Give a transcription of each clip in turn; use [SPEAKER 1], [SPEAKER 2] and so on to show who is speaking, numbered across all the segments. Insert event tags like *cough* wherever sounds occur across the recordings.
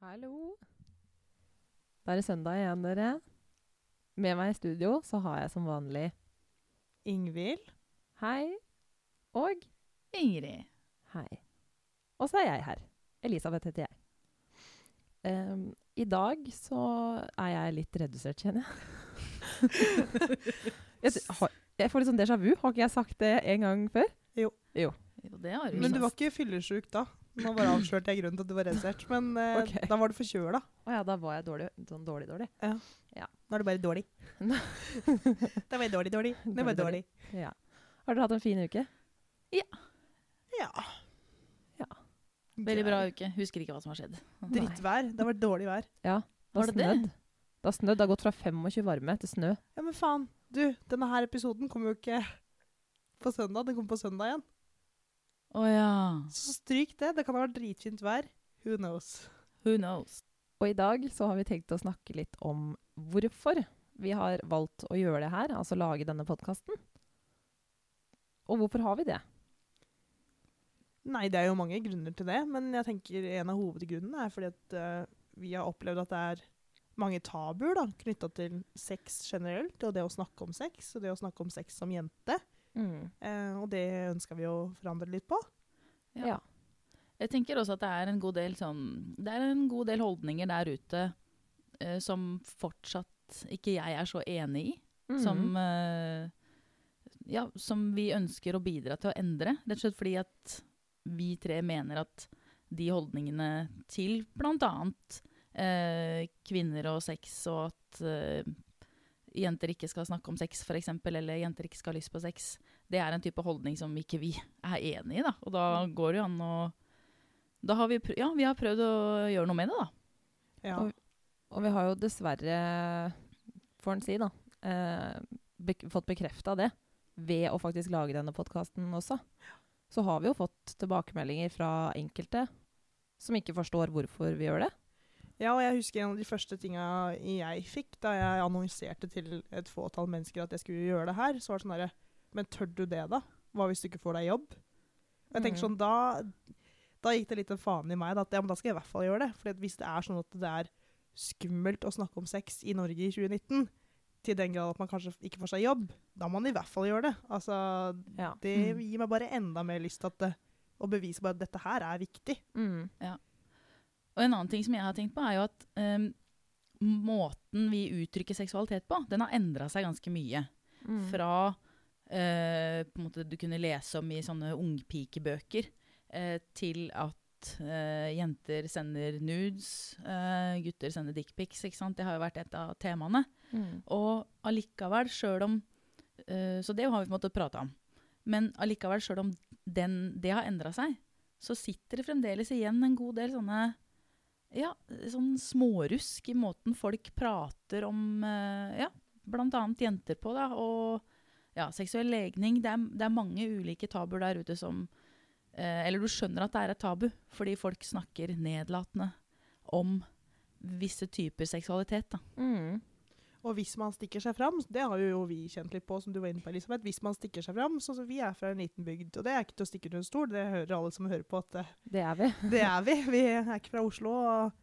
[SPEAKER 1] Hallo. Da er det søndag igjen, dere. Med meg i studio så har jeg som vanlig
[SPEAKER 2] Ingvild.
[SPEAKER 1] hei og
[SPEAKER 2] Ingrid.
[SPEAKER 1] hei. Og så er jeg her. Elisabeth heter jeg. Ehm, I dag så er jeg litt redusert, kjenner *laughs* jeg. jeg, har, jeg får litt sånn déjà vu. Har ikke jeg sagt det en gang før?
[SPEAKER 3] Jo, det har vi
[SPEAKER 2] Men du
[SPEAKER 3] visst.
[SPEAKER 2] var ikke fyllesyk da? Nå bare avslørte jeg grunnen til at du var redusert, men eh,
[SPEAKER 1] Ok.
[SPEAKER 2] da var du forkjøla.
[SPEAKER 1] Å ja, da var jeg dårlig, sånn dårlig dårlig.
[SPEAKER 2] Nå er du bare dårlig.
[SPEAKER 1] Nå.
[SPEAKER 2] *laughs* da var jeg dårlig, dårlig. Nå var jeg dårlig.
[SPEAKER 1] Dårlig, Ja. Har dere hatt en fin uke?
[SPEAKER 2] Ja.
[SPEAKER 1] Ja.
[SPEAKER 3] Veldig bra uke. Husker ikke hva som har skjedd.
[SPEAKER 2] Drittvær. Det har vært dårlig vær.
[SPEAKER 1] Det har
[SPEAKER 3] Var det det?
[SPEAKER 1] snødd. Det har snødd. Det har gått fra 25 varme til snø.
[SPEAKER 2] Ja, men faen. Du, denne her episoden kommer jo ikke på søndag. Den kommer på søndag igjen.
[SPEAKER 3] Å ja.
[SPEAKER 2] Så stryk det. Det kan ha vært dritfint vær. Who knows.
[SPEAKER 3] Who knows?
[SPEAKER 1] Og i dag så har vi tenkt å snakke litt om hvorfor vi har valgt å gjøre det her, altså lage denne podkasten. Og hvorfor har vi det?
[SPEAKER 2] Nei, det er jo mange grunner til det, men jeg tenker en av hovedgrunnene er fordi at eh, vi har opplevd at det er mange tabuer da, knytta til sex generelt, og det å snakke om sex, og det å snakke om sex som jente. Eh, og det ønska vi å forandre litt på.
[SPEAKER 1] Ja.
[SPEAKER 3] Jeg tenker også at det er en god del, sånn, det er en god del holdninger der ute eh, som fortsatt ikke jeg er så enig i.
[SPEAKER 1] Mm.
[SPEAKER 3] Som, eh, ja, som vi ønsker å bidra til å endre. Rett og slett fordi at vi tre mener at de holdningene til bl.a. Eh, kvinner og sex, og at eh, jenter ikke skal snakke om sex f.eks., eller jenter ikke skal ha lyst på sex, det er en type holdning som ikke vi er enig i. Da. Og da går det jo an å da har vi, prø ja, vi har prøvd å gjøre noe med det, da.
[SPEAKER 2] Ja.
[SPEAKER 1] Og- Og vi har jo dessverre, får en si da, eh, bek fått bekrefta det ved å faktisk lage denne podkasten også. Så har vi jo fått tilbakemeldinger fra enkelte som ikke forstår hvorfor vi gjør det.
[SPEAKER 2] ja, og jeg husker en av de første tinga jeg fikk da jeg annonserte til et fåtall mennesker at jeg skulle gjøre det her, så var det sånn derre Men tør du det, da? Hva hvis du ikke får deg jobb? Og jeg tenker
[SPEAKER 1] Mm.
[SPEAKER 2] sånn, da, da gikk det litt en faen i meg. Da, at, ja, men da skal jeg i hvert fall gjøre det. For hvis det er sånn at det er skummelt å snakke om sex i Norge i 2019, til den grad at man kanskje ikke får seg jobb, da må man i hvert fall gjøre det. Altså,
[SPEAKER 1] Ja.
[SPEAKER 2] det
[SPEAKER 3] Mm.
[SPEAKER 2] gir meg bare enda mer lyst til at det, å bevise bare at dette her er viktig.
[SPEAKER 1] Mm.
[SPEAKER 3] Og en annen ting som jeg har tenkt på, er jo at em, måten vi uttrykker seksualitet på, den har endra seg ganske mye.
[SPEAKER 1] Mm.
[SPEAKER 3] Fra eh, på en måte du kunne lese om i sånne ungpikebøker, eh, til at eh, jenter sender nudes, eh, gutter sender dickpics, ikke sant. Det har jo vært et av temaene.
[SPEAKER 1] Mm.
[SPEAKER 3] Og allikevel, sjøl om eh, Så det har vi på en måte prata om. Men allikevel, sjøl om den, det har endra seg, så sitter det fremdeles igjen en god del sånne ja, sånn smårusk i måten folk prater om eh, ja, bl.a. jenter på. Da, og ja, seksuell legning. Det er, det er mange ulike tabuer der ute som eh, Eller du skjønner at det er et tabu, fordi folk snakker nedlatende om visse typer seksualitet. Da.
[SPEAKER 1] Mm.
[SPEAKER 2] Og hvis man stikker seg fram, det har jo vi kjent litt på, som du var inne på, Elisabeth, hvis man stikker seg fram, så, så vi er fra en liten bygd, og det er ikke til å stikke under en stol, det hører alle som hører på at eh,
[SPEAKER 1] Det er vi.
[SPEAKER 2] Det er vi. Vi er ikke fra Oslo. og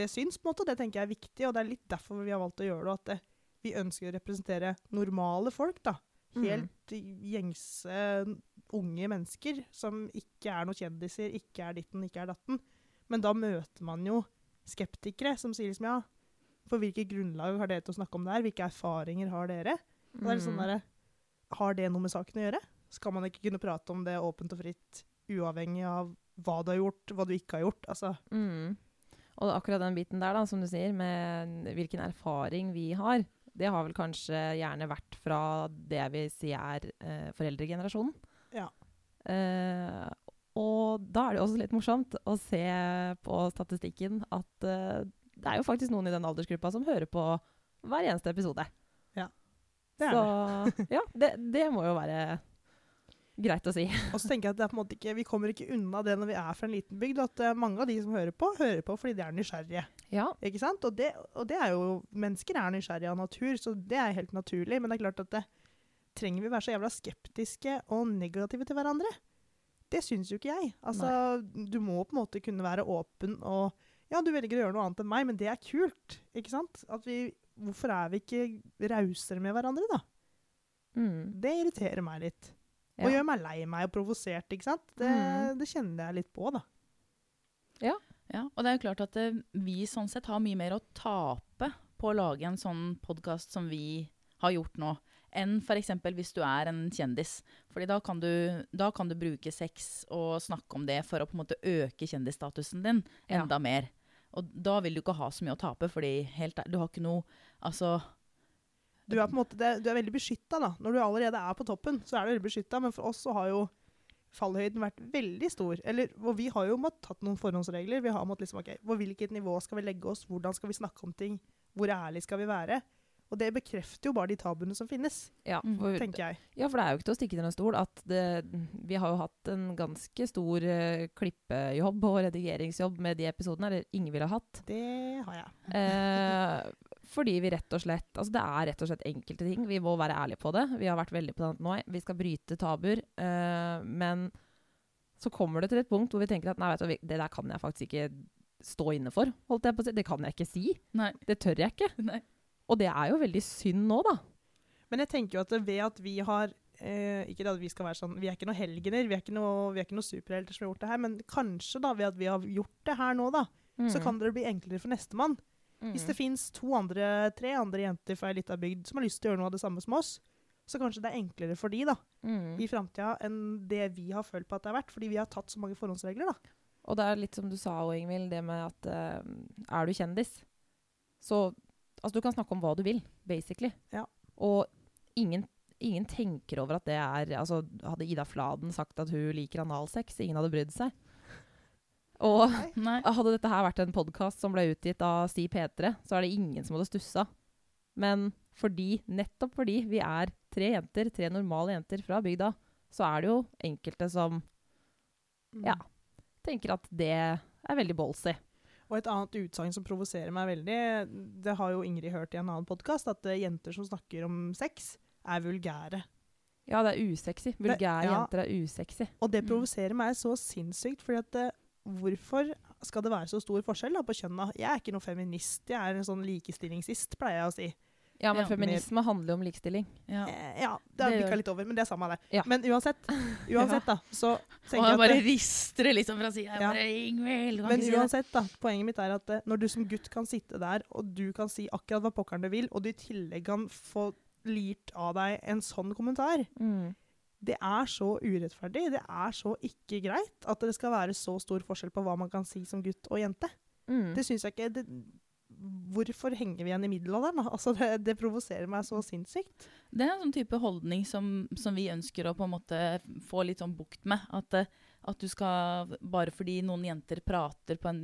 [SPEAKER 2] Det syns, på en måte, og det tenker jeg er viktig. og Det er litt derfor vi har valgt å gjøre det. at det, Vi ønsker å representere normale folk. da. Helt gjengse unge mennesker som ikke er noen kjendiser, ikke er ditten, ikke er datten. Men da møter man jo skeptikere som sier liksom ja, for hvilket grunnlag har dere til å snakke om det her? Hvilke erfaringer har dere? Og det er litt sånn
[SPEAKER 1] Mm.
[SPEAKER 2] derre, Har det noe med saken å gjøre? Skal man ikke kunne prate om det åpent og fritt, uavhengig av hva du har gjort, hva du ikke har gjort? Altså,
[SPEAKER 1] Mm. Og akkurat den biten der, da, som du sier, med hvilken erfaring vi har, det har vel kanskje gjerne vært fra det vi sier er eh, foreldregenerasjonen.
[SPEAKER 2] Ja.
[SPEAKER 1] Eh, og da er det jo også litt morsomt å se på statistikken at eh, det er jo faktisk noen i den aldersgruppa som hører på hver eneste episode.
[SPEAKER 2] det er det. *laughs*
[SPEAKER 1] Så ja, det, det må jo være greit å si.
[SPEAKER 2] Og så tenker jeg at det er på en måte ikke, vi kommer ikke unna det når vi er fra en liten bygd, at eh, mange av de som hører på, hører på fordi de er nysgjerrige.
[SPEAKER 1] Ja.
[SPEAKER 2] Ikke sant? Og det, og det er jo, mennesker er nysgjerrige av natur, så det er helt naturlig. Men det er klart at det, trenger vi være så jævla skeptiske og negative til hverandre? Det syns jo ikke jeg. Altså, du må på en måte kunne være åpen og Ja, du velger å gjøre noe annet enn meg, men det er kult. Ikke sant? At vi, hvorfor er vi ikke rausere med hverandre, da?
[SPEAKER 1] Mm.
[SPEAKER 2] Det irriterer meg litt.
[SPEAKER 1] Ja.
[SPEAKER 2] Og gjør meg lei meg og provosert, ikke sant? Det,
[SPEAKER 1] Mhm.
[SPEAKER 2] det kjenner jeg litt på, da.
[SPEAKER 3] Ja, og det er jo klart at eh, vi sånn sett har mye mer å tape på å lage en sånn podkast som vi har gjort nå, enn f.eks. hvis du er en kjendis. Fordi da kan, du, da kan du bruke sex og snakke om det for å på en måte øke kjendisstatusen din
[SPEAKER 1] Ja.
[SPEAKER 3] enda mer. Og da vil du ikke ha så mye å tape, fordi helt, ær- du har ikke noe Altså,
[SPEAKER 2] Du er, på en måte, det, du er veldig beskytta, da. Når du allerede er på toppen, så er du veldig beskytta. Men for oss så har jo fallhøyden vært veldig stor. Eller, og vi har jo måttet tatt noen forhåndsregler. Vi har måttet liksom, ok, På hvilket nivå skal vi legge oss? Hvordan skal vi snakke om ting? Hvor ærlig skal vi være? Og det bekrefter jo bare de tabuene som finnes,
[SPEAKER 1] Ja,
[SPEAKER 3] Mm.
[SPEAKER 1] for,
[SPEAKER 2] tenker jeg.
[SPEAKER 1] ja, for det er jo ikke til å stikke til en stol at det, vi har jo hatt en ganske stor eh, klippejobb og redigeringsjobb med de episodene, eller ingen ville hatt.
[SPEAKER 2] Det har jeg.
[SPEAKER 1] Eh, fordi vi rett og slett Altså, det er rett og slett enkelte ting. Vi må være ærlige på det. Vi har vært veldig på det nå. Vi skal bryte tabuer. Eh, men så kommer det til et punkt hvor vi tenker at nei, vet du, hva, vi- det der kan jeg faktisk ikke stå inne for. Holdt jeg på å si. Det kan jeg ikke si.
[SPEAKER 3] nei.
[SPEAKER 1] Det tør jeg ikke.
[SPEAKER 3] nei.
[SPEAKER 1] Og det er jo veldig synd nå, da.
[SPEAKER 2] Men jeg tenker jo at ved at vi har eh, Ikke at vi skal være sånn Vi er ikke noen helgener, vi er ikke noen noe superhelter som har gjort det her, men kanskje da ved at vi har gjort det her nå, da,
[SPEAKER 1] Mm.
[SPEAKER 2] så kan det bli enklere for nestemann. Hvis det fins to andre, tre andre jenter fra ei lita bygd som har lyst til å gjøre noe av det samme som oss, så kanskje det er enklere for de da,
[SPEAKER 1] Mm.
[SPEAKER 2] i framtida enn det vi har følt på at det har vært, fordi vi har tatt så mange forhåndsregler, da.
[SPEAKER 1] Og det er litt som du sa òg, Ingvild, det med at eh, er du kjendis, så Altså, du kan snakke om hva du vil, basically.
[SPEAKER 2] Ja.
[SPEAKER 1] Og ingen, ingen tenker over at det er Altså, hadde Ida Fladen sagt at hun liker analsex, ingen hadde brydd seg. Og *laughs*
[SPEAKER 3] nei.
[SPEAKER 1] hadde dette her vært en podkast som ble utgitt av Si P3, så er det ingen som hadde stussa. Men fordi, nettopp fordi vi er tre jenter, tre normale jenter fra bygda, så er det jo enkelte som Ja. tenker at det er veldig ballsy.
[SPEAKER 2] Og et annet utsagn som provoserer meg veldig, det har jo Ingrid hørt i en annen podkast, at eh, jenter som snakker om sex, er vulgære.
[SPEAKER 1] Ja, det er usexy. Vulgære
[SPEAKER 2] ja.
[SPEAKER 1] jenter er usexy.
[SPEAKER 2] Og det
[SPEAKER 3] Mm.
[SPEAKER 2] provoserer meg så sinnssykt, fordi at eh, hvorfor skal det være så stor forskjell da, på kjønna? Jeg er ikke noen feminist, jeg er en sånn likestillingsist, pleier jeg å si.
[SPEAKER 1] Ja, men
[SPEAKER 3] Ja,
[SPEAKER 1] feminisme handler jo om likstilling.
[SPEAKER 3] Ja.
[SPEAKER 2] Eh, ja, det har
[SPEAKER 3] Det gjør
[SPEAKER 2] bikka litt over, men det er samme av det.
[SPEAKER 1] Ja.
[SPEAKER 2] Men uansett, uansett da, så
[SPEAKER 3] Og
[SPEAKER 2] tenker
[SPEAKER 3] jeg
[SPEAKER 2] jeg at
[SPEAKER 3] bare
[SPEAKER 2] det,
[SPEAKER 3] rister det liksom fra sida.
[SPEAKER 2] Ja.
[SPEAKER 3] bare, Ingvild, du kan
[SPEAKER 2] men
[SPEAKER 3] ikke si det.
[SPEAKER 2] uansett da, poenget mitt er at eh, når du som gutt kan sitte der, og du kan si akkurat hva pokkeren du vil, og du i tillegg kan få lirt av deg en sånn kommentar,
[SPEAKER 1] Mm.
[SPEAKER 2] det er så urettferdig, det er så ikke greit at det skal være så stor forskjell på hva man kan si som gutt og jente.
[SPEAKER 1] Mm.
[SPEAKER 2] Det syns jeg ikke det, Hvorfor henger vi igjen i middelalderen? da? *laughs* Altså, det, det provoserer meg så sinnssykt.
[SPEAKER 3] Det er en sånn type holdning som, som vi ønsker å på en måte få litt sånn bukt med. At, eh, at du skal Bare fordi noen jenter prater, på en,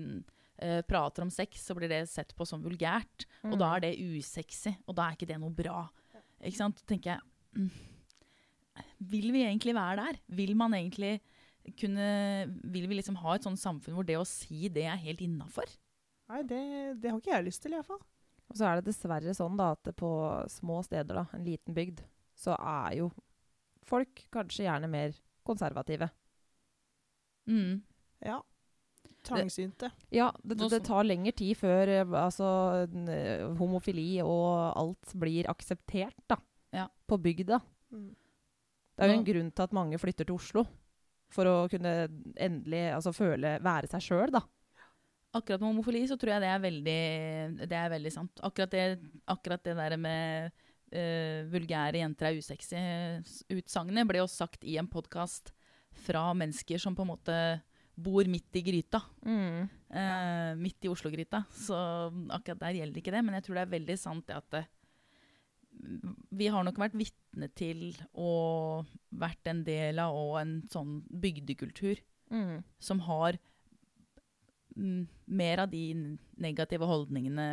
[SPEAKER 3] eh, prater om sex, så blir det sett på som vulgært. Og
[SPEAKER 1] Mm.
[SPEAKER 3] da er det usexy, og da er ikke det noe bra. Ikke sant? Da tenker jeg mm, Vil vi egentlig være der? Vil man egentlig kunne Vil vi liksom ha et sånt samfunn hvor det å si det er helt innafor?
[SPEAKER 2] Nei, det, det har ikke jeg lyst til, iallfall.
[SPEAKER 1] Og så er det dessverre sånn da, at det på små steder, da, en liten bygd, så er jo folk kanskje gjerne mer konservative.
[SPEAKER 3] Mm.
[SPEAKER 2] Ja. Trangsynte.
[SPEAKER 1] Ja, det,
[SPEAKER 3] Nå
[SPEAKER 1] det
[SPEAKER 3] som-
[SPEAKER 1] tar lengre tid før eh, altså, n- eh, homofili og alt blir akseptert da,
[SPEAKER 3] Ja.
[SPEAKER 1] på bygda.
[SPEAKER 2] Mm.
[SPEAKER 1] Det er jo
[SPEAKER 3] Nå-
[SPEAKER 1] en grunn til at mange flytter til Oslo, for å kunne endelig altså, føle, være seg sjøl. da.
[SPEAKER 3] Akkurat med homofili så tror jeg det er veldig, det er veldig sant. Akkurat det, akkurat det der med eh, vulgære jenter er usexy-utsagnet ble jo sagt i en podkast fra mennesker som på en måte bor midt i gryta.
[SPEAKER 1] Mm.
[SPEAKER 3] eh, midt i Oslo-gryta. Så akkurat der gjelder ikke det. Men jeg tror det er veldig sant det at det, vi har nok vært vitne til og vært en del av og en sånn bygdekultur som har mm, mer av de n- negative holdningene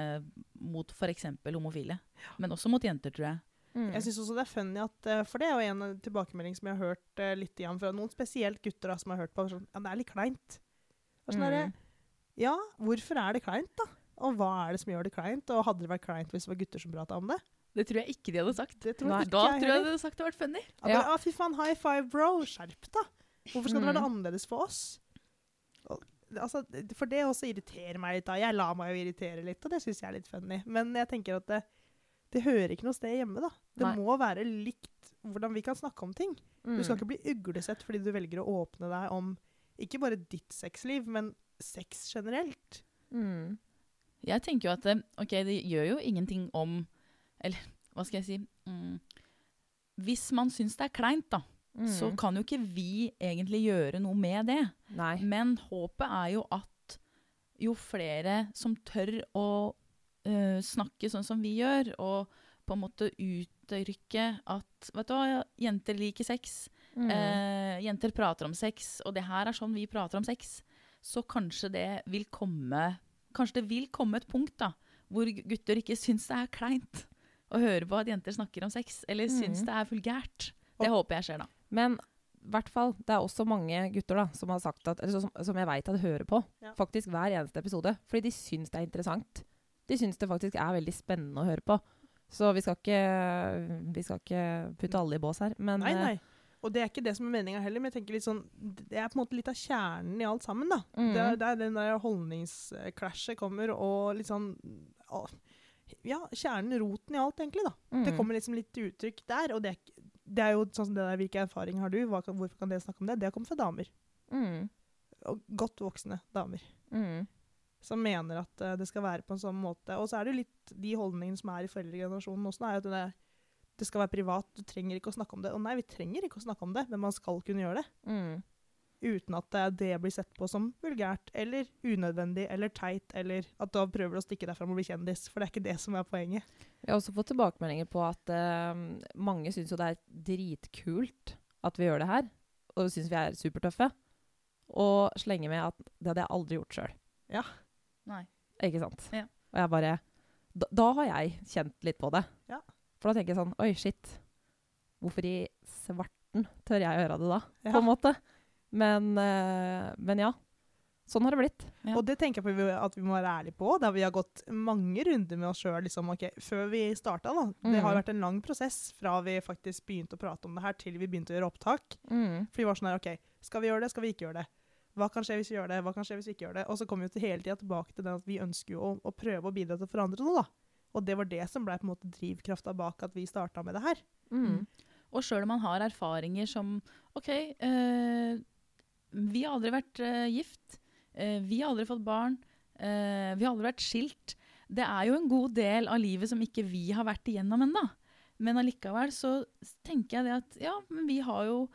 [SPEAKER 3] mot f.eks. homofile. Men også mot jenter, tror jeg.
[SPEAKER 1] Mm.
[SPEAKER 2] Jeg syns også det er funny at eh, For det er jo en eh, tilbakemelding som jeg har hørt eh, litt igjen fra noen spesielt gutter da, som har hørt på. Sånn, ja, det er litt kleint. Og Sånn er det.
[SPEAKER 1] Mm.
[SPEAKER 2] Ja, hvorfor er det kleint, da? Og hva er det som gjør det kleint? Og hadde det vært kleint hvis det var gutter som prata om det?
[SPEAKER 3] Det tror jeg ikke de hadde sagt.
[SPEAKER 2] Det tror
[SPEAKER 1] Nei.
[SPEAKER 2] ikke
[SPEAKER 3] Da
[SPEAKER 2] jeg
[SPEAKER 3] tror jeg
[SPEAKER 2] heller.
[SPEAKER 3] de hadde sagt det hadde vært funny.
[SPEAKER 2] Ja, bare, ah, fy faen, high five, bro. Skjerp deg. Hvorfor skal det være
[SPEAKER 1] Mm.
[SPEAKER 2] annerledes for oss? Og altså, For det også irriterer meg litt. da. Jeg lar meg jo irritere litt, og det syns jeg er litt funny. Men jeg tenker at det, det hører ikke noe sted hjemme. da. Det
[SPEAKER 1] Nei.
[SPEAKER 2] må være likt hvordan vi kan snakke om ting. Du skal
[SPEAKER 1] Mm.
[SPEAKER 2] ikke bli uglesett fordi du velger å åpne deg om ikke bare ditt sexliv, men sex generelt.
[SPEAKER 1] mm.
[SPEAKER 3] Jeg tenker jo at eh, ok, det gjør jo ingenting om Eller hva skal jeg si mm, Hvis man syns det er kleint, da,
[SPEAKER 1] Mm.
[SPEAKER 3] så kan jo ikke vi egentlig gjøre noe med det.
[SPEAKER 1] Nei.
[SPEAKER 3] Men håpet er jo at jo flere som tør å eh, snakke sånn som vi gjør, og på en måte uttrykke at Vet du hva, jenter liker sex.
[SPEAKER 1] Mm.
[SPEAKER 3] Eh, jenter prater om sex, og det her er sånn vi prater om sex. Så kanskje det vil komme Kanskje det vil komme et punkt da, hvor gu- gutter ikke syns det er kleint å høre på at jenter snakker om sex, eller syns
[SPEAKER 1] Mhm.
[SPEAKER 3] det er vulgært. Det håper jeg skjer, da.
[SPEAKER 1] Men i hvert fall, det er også mange gutter da, som har sagt at, eller som, som jeg veit at hører på,
[SPEAKER 2] Ja.
[SPEAKER 1] faktisk hver eneste episode, fordi de syns det er interessant. De syns det faktisk er veldig spennende å høre på. Så vi skal ikke, vi skal ikke putte alle i bås her. Men
[SPEAKER 2] Nei,
[SPEAKER 1] eh,
[SPEAKER 2] nei. Og det er ikke det som er meninga heller, men jeg tenker litt sånn, det er på en måte litt av kjernen i alt sammen. da.
[SPEAKER 1] Mm.
[SPEAKER 2] Det, er, det er den der holdningsklæsjet kommer, og litt sånn å, Ja, kjernen, roten i alt, egentlig. da.
[SPEAKER 1] mm,
[SPEAKER 2] Det kommer liksom litt til uttrykk der. Og det er, ikke- det er jo sånn som det der, hvilke erfaringer har du, Hva, kan- hvorfor kan dere snakke om det? Det har kommet fra damer.
[SPEAKER 1] mm,
[SPEAKER 2] Og godt voksne damer.
[SPEAKER 1] mm,
[SPEAKER 2] Som mener at eh, det skal være på en sånn måte. Og så er det jo litt de holdningene som er i foreldregenerasjonen også, er at det, det skal være privat, du trenger ikke å snakke om det. Og nei, vi trenger ikke å snakke om det, men man skal kunne gjøre det.
[SPEAKER 1] mm.
[SPEAKER 2] Uten at eh, det blir sett på som vulgært eller unødvendig eller teit, eller at da prøver du å stikke deg fram og bli kjendis. For det er ikke det som er poenget.
[SPEAKER 1] Vi har også fått tilbakemeldinger på at eh, mange syns jo det er dritkult at vi gjør det her, og syns vi er supertøffe, og slenger med at det hadde jeg aldri gjort sjøl.
[SPEAKER 3] Nei.
[SPEAKER 1] Ikke sant?
[SPEAKER 3] Ja.
[SPEAKER 1] Og jeg bare da, da har jeg kjent litt på det.
[SPEAKER 2] Ja.
[SPEAKER 1] For da tenker jeg sånn Oi, shit. Hvorfor i svarten tør jeg å gjøre det da?
[SPEAKER 2] Ja.
[SPEAKER 1] På en måte. Men, eh, men ja. Sånn har det blitt.
[SPEAKER 3] Ja.
[SPEAKER 2] Og det tenker jeg på vi- at vi må være ærlige på, da vi har gått mange runder med oss sjøl liksom, ok, før vi starta. Da. Det har
[SPEAKER 1] Mm.
[SPEAKER 2] vært en lang prosess fra vi faktisk begynte å prate om det her, til vi begynte å gjøre opptak. For vi var sånn her, ok, skal vi gjøre det, skal vi ikke gjøre det? Hva kan skje hvis vi gjør det, hva kan skje hvis vi ikke gjør det? Og så kom vi jo til hele tida tilbake til den at vi ønsker jo å, å prøve å bidra til å forandre noe, da. Og det var det som ble på en måte drivkrafta bak at vi starta med det her.
[SPEAKER 1] Mm.
[SPEAKER 3] Og sjøl om man har erfaringer som OK, eh, vi har aldri vært eh, gift. eh, vi har aldri fått barn. eh, vi har aldri vært skilt. Det er jo en god del av livet som ikke vi har vært igjennom ennå. Men allikevel så s- tenker jeg det at ja, men vi har jo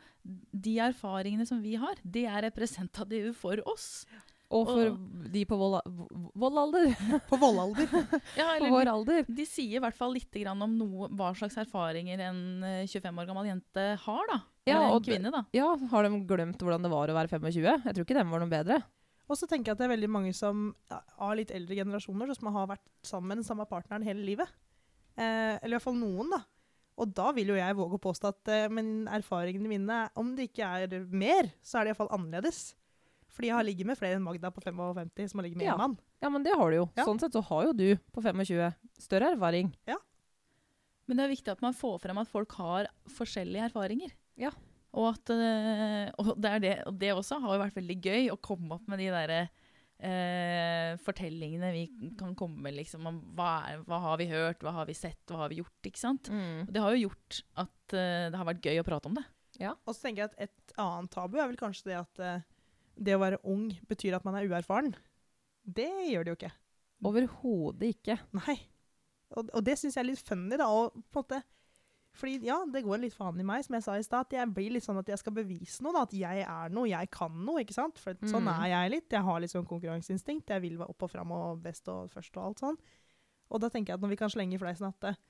[SPEAKER 3] de erfaringene som vi har, de er representative for oss.
[SPEAKER 1] Og for
[SPEAKER 3] Og-
[SPEAKER 1] de på vold, *laughs* voldalder.
[SPEAKER 2] På voldalder.
[SPEAKER 3] Ja,
[SPEAKER 1] På
[SPEAKER 3] eller
[SPEAKER 1] vår alder.
[SPEAKER 3] de sier i hvert fall litt grann om noe, hva slags erfaringer en eh, 25 år gammel jente har, da.
[SPEAKER 1] Ja,
[SPEAKER 3] eller
[SPEAKER 1] og
[SPEAKER 3] en
[SPEAKER 1] det-
[SPEAKER 3] kvinne, da.
[SPEAKER 1] Ja, har de glemt hvordan det var å være 25? Jeg tror ikke dem var noe bedre.
[SPEAKER 2] Og så tenker jeg at det er veldig mange som ja, av litt eldre generasjoner som har vært sammen med den samme partneren hele livet. Eh, eller i hvert fall noen, da. Og da vil jo jeg våge å påstå at eh, men erfaringene mine, om det ikke er mer, så er det iallfall annerledes. Fordi jeg har ligget med flere enn Magda på 55 som har ligget med
[SPEAKER 1] Ja.
[SPEAKER 2] en mann.
[SPEAKER 1] Ja, men det har du jo.
[SPEAKER 2] Ja.
[SPEAKER 1] Sånn sett så har jo du på 25 større erfaring.
[SPEAKER 3] Men det er viktig at man får frem at folk har forskjellige erfaringer.
[SPEAKER 1] Ja.
[SPEAKER 3] Og, at, eh, og det, er det, og det også har jo vært veldig gøy å komme opp med de derre eh, fortellingene vi kan komme med, liksom. Om hva, er, hva har vi hørt, hva har vi sett, hva har vi gjort? Ikke sant?
[SPEAKER 1] Mm.
[SPEAKER 3] Og Det har jo gjort at eh, det har vært gøy å prate om det.
[SPEAKER 2] Og så tenker jeg at et annet tabu er vel kanskje det at eh, det å være ung betyr at man er uerfaren. Det gjør det jo ikke.
[SPEAKER 1] Overhodet ikke.
[SPEAKER 2] Nei. Og, og det syns jeg er litt funny, da. Og på en måte, fordi ja, det går litt faen i meg, som jeg sa i stad. At jeg blir litt sånn at jeg skal bevise noe. Da, at jeg er noe, jeg kan noe. ikke sant? For sånn
[SPEAKER 1] Mm.
[SPEAKER 2] er jeg litt. Jeg har litt sånn konkurranseinstinkt. Jeg vil være opp og fram og best og først og alt sånn. Og da tenker jeg at når vi kan slenge i fleisen at eh,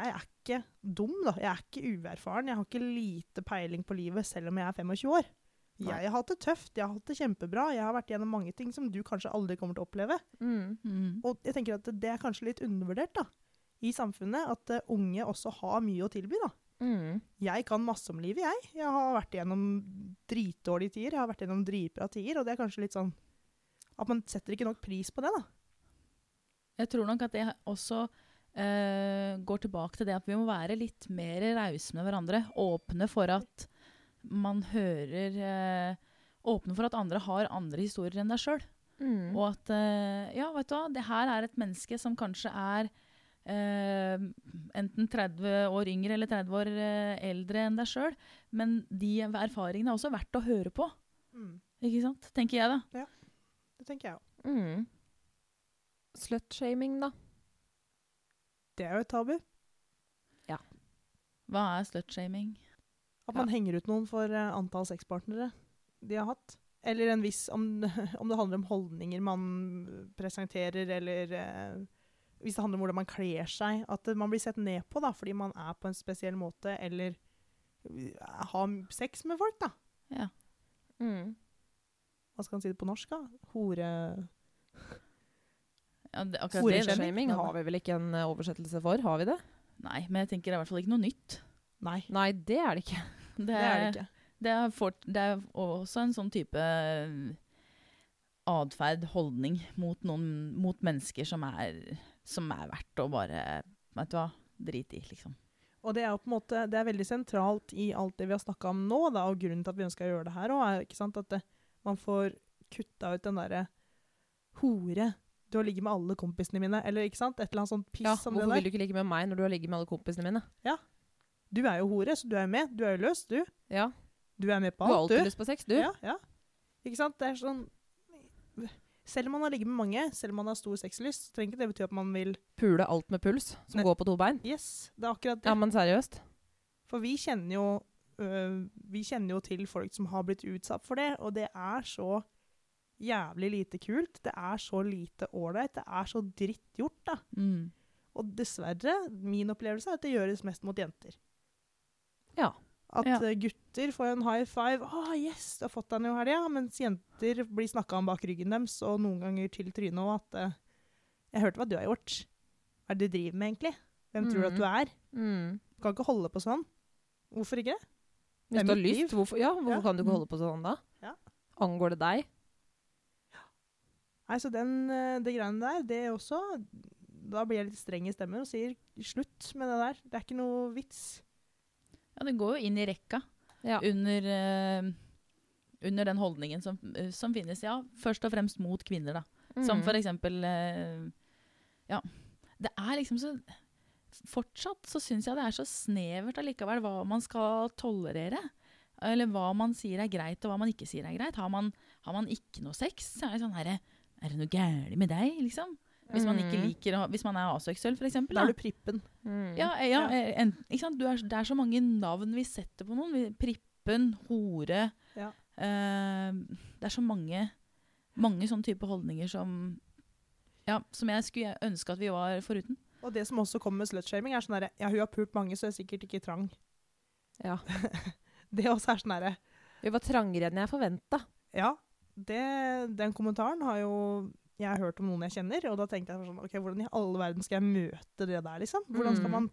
[SPEAKER 2] jeg er ikke dum, da. Jeg er ikke uerfaren. Jeg har ikke lite peiling på livet selv om jeg er 25 år.
[SPEAKER 3] Nei.
[SPEAKER 2] Jeg har hatt det tøft, jeg har hatt det kjempebra. Jeg har vært gjennom mange ting som du kanskje aldri kommer til å oppleve.
[SPEAKER 1] Mm.
[SPEAKER 2] Og jeg tenker at det er kanskje litt undervurdert da, i samfunnet, at eh, unge også har mye å tilby. da.
[SPEAKER 1] Mm.
[SPEAKER 2] Jeg kan masse om livet, jeg. Jeg har vært gjennom dritdårlige tider, jeg har vært gjennom dritbra tider, og det er kanskje litt sånn at man setter ikke nok pris på det. da.
[SPEAKER 3] Jeg tror nok at det også eh, går tilbake til det at vi må være litt mer rause med hverandre. Åpne for at man hører eh, åpne for at andre har andre historier enn deg sjøl.
[SPEAKER 1] Mm.
[SPEAKER 3] Og at eh, ja, vet du hva, det her er et menneske som kanskje er eh, enten 30 år yngre eller 30 år eh, eldre enn deg sjøl, men de erfaringene er også verdt å høre på.
[SPEAKER 2] Mm,
[SPEAKER 3] Ikke sant? Tenker jeg, da.
[SPEAKER 2] det tenker jeg òg.
[SPEAKER 1] Mm. Slutshaming, da.
[SPEAKER 2] Det er jo et tabu.
[SPEAKER 3] Hva er slutshaming?
[SPEAKER 2] At man henger ut noen for eh, antall sexpartnere de har hatt. Eller en viss om, *laughs* om det handler om holdninger man presenterer, eller eh, hvis det handler om hvordan man kler seg. At eh, man blir sett ned på da, fordi man er på en spesiell måte, eller eh, har sex med folk, da.
[SPEAKER 3] Ja.
[SPEAKER 1] Mm.
[SPEAKER 2] Hva skal man si det på norsk, da? Hore...
[SPEAKER 3] Ja, det, akkurat det, det.
[SPEAKER 1] Slutshaming har vi vel ikke en eh, oversettelse for? Har vi det?
[SPEAKER 3] Nei, men jeg tenker det er i hvert fall ikke noe nytt.
[SPEAKER 2] Nei,
[SPEAKER 1] Nei, det er det ikke.
[SPEAKER 3] Det
[SPEAKER 2] det er det ikke.
[SPEAKER 3] Det er, fort, det er også en sånn type atferd, holdning, mot, noen, mot mennesker som er, som er verdt å bare Vet du hva, drit i, liksom.
[SPEAKER 2] Og det er jo på en måte, det er veldig sentralt i alt det vi har snakka om nå, da, og grunnen til at vi ønsker å gjøre det her òg, er ikke sant, at det, man får kutta ut den derre hore. Du har ligget med alle kompisene mine, eller ikke sant? Et eller annet sånt piss
[SPEAKER 1] Ja,
[SPEAKER 2] som det
[SPEAKER 1] hvorfor vil
[SPEAKER 2] der.
[SPEAKER 1] du ikke ligge med meg når du har ligget med alle kompisene mine?
[SPEAKER 2] Du er jo hore, så du er jo med. Du er jo løs, du.
[SPEAKER 1] Ja,
[SPEAKER 2] Du er med på
[SPEAKER 1] Du har
[SPEAKER 2] alt,
[SPEAKER 1] alltid
[SPEAKER 2] du.
[SPEAKER 1] lyst på sex, du.
[SPEAKER 2] Ja, ja. Ikke sant? Det er sånn Selv om man har ligget med mange, selv om man har stor sexlyst, så trenger ikke det bety at man vil
[SPEAKER 1] Pule alt med puls, som
[SPEAKER 2] Nei.
[SPEAKER 1] går på to bein.
[SPEAKER 2] Yes, det er akkurat det.
[SPEAKER 1] Ja, men seriøst.
[SPEAKER 2] For vi kjenner jo øh, vi kjenner jo til folk som har blitt utsatt for det, og det er så jævlig lite kult. Det er så lite ålreit. Det er så drittgjort, da.
[SPEAKER 3] Mm.
[SPEAKER 2] Og dessverre, min opplevelse er at det gjøres mest mot jenter.
[SPEAKER 1] Ja.
[SPEAKER 2] At
[SPEAKER 3] Ja.
[SPEAKER 2] øh, gutter får en high five. 'Å, yes, du har fått deg noe i helga.' Mens jenter blir snakka om bak ryggen deres, og noen ganger til trynet òg, at øh, 'Jeg hørte hva du har gjort. Hva er det du driver med, egentlig? Hvem tror du at du er?
[SPEAKER 1] Mm.
[SPEAKER 2] Du kan ikke holde på sånn.' Hvorfor ikke? Det
[SPEAKER 1] Hvis
[SPEAKER 2] er
[SPEAKER 1] du har
[SPEAKER 2] mitt
[SPEAKER 1] lyst,
[SPEAKER 2] liv.
[SPEAKER 1] hvorfor, ja, hvorfor
[SPEAKER 2] Ja.
[SPEAKER 1] kan du
[SPEAKER 3] Mm.
[SPEAKER 1] ikke holde på sånn da?
[SPEAKER 2] Ja.
[SPEAKER 1] Angår det deg?
[SPEAKER 2] Nei, så den, eh, det greiene der, det er også Da blir jeg litt streng i stemmen og sier slutt med det der. Det er ikke noe vits.
[SPEAKER 3] Ja, det går jo inn i rekka
[SPEAKER 1] Ja.
[SPEAKER 3] under, eh, under den holdningen som, eh, som finnes, ja, først og fremst mot kvinner, da.
[SPEAKER 1] Mm.
[SPEAKER 2] Mm.
[SPEAKER 3] Som for eksempel eh, Ja. Det er liksom så Fortsatt så syns jeg det er så snevert allikevel hva man skal tolerere. Eller hva man sier er greit, og hva man ikke sier er greit. Har man, har man ikke noe sex, så er det sånn herre Er det noe gærent med deg, liksom? Hvis man ikke
[SPEAKER 1] Mm.
[SPEAKER 3] liker å- Hvis man er aseksuell, for eksempel.
[SPEAKER 2] Da
[SPEAKER 3] Da.
[SPEAKER 2] er du prippen.
[SPEAKER 1] Mm.
[SPEAKER 3] Ja, ja,
[SPEAKER 2] Ja.
[SPEAKER 3] eh, en, ikke sant? Du er, det er så mange navn vi setter på noen. Vi- Prippen, hore
[SPEAKER 2] Ja.
[SPEAKER 3] eh, Det er så mange, mange sånne type holdninger som ja, som jeg skulle ønske at vi var foruten.
[SPEAKER 2] Og det som også kommer med slutshaming, er sånn herre Ja, hun har pult mange, så jeg er sikkert ikke trang.
[SPEAKER 1] Ja.
[SPEAKER 2] *laughs* Det også er sånn herre
[SPEAKER 1] Vi var trangere enn jeg forventa.
[SPEAKER 2] Ja, det, den kommentaren har jo jeg har hørt om noen jeg kjenner, og da tenkte jeg sånn OK, hvordan i all verden skal jeg møte det der, liksom? Hvordan skal
[SPEAKER 1] Mm.
[SPEAKER 2] man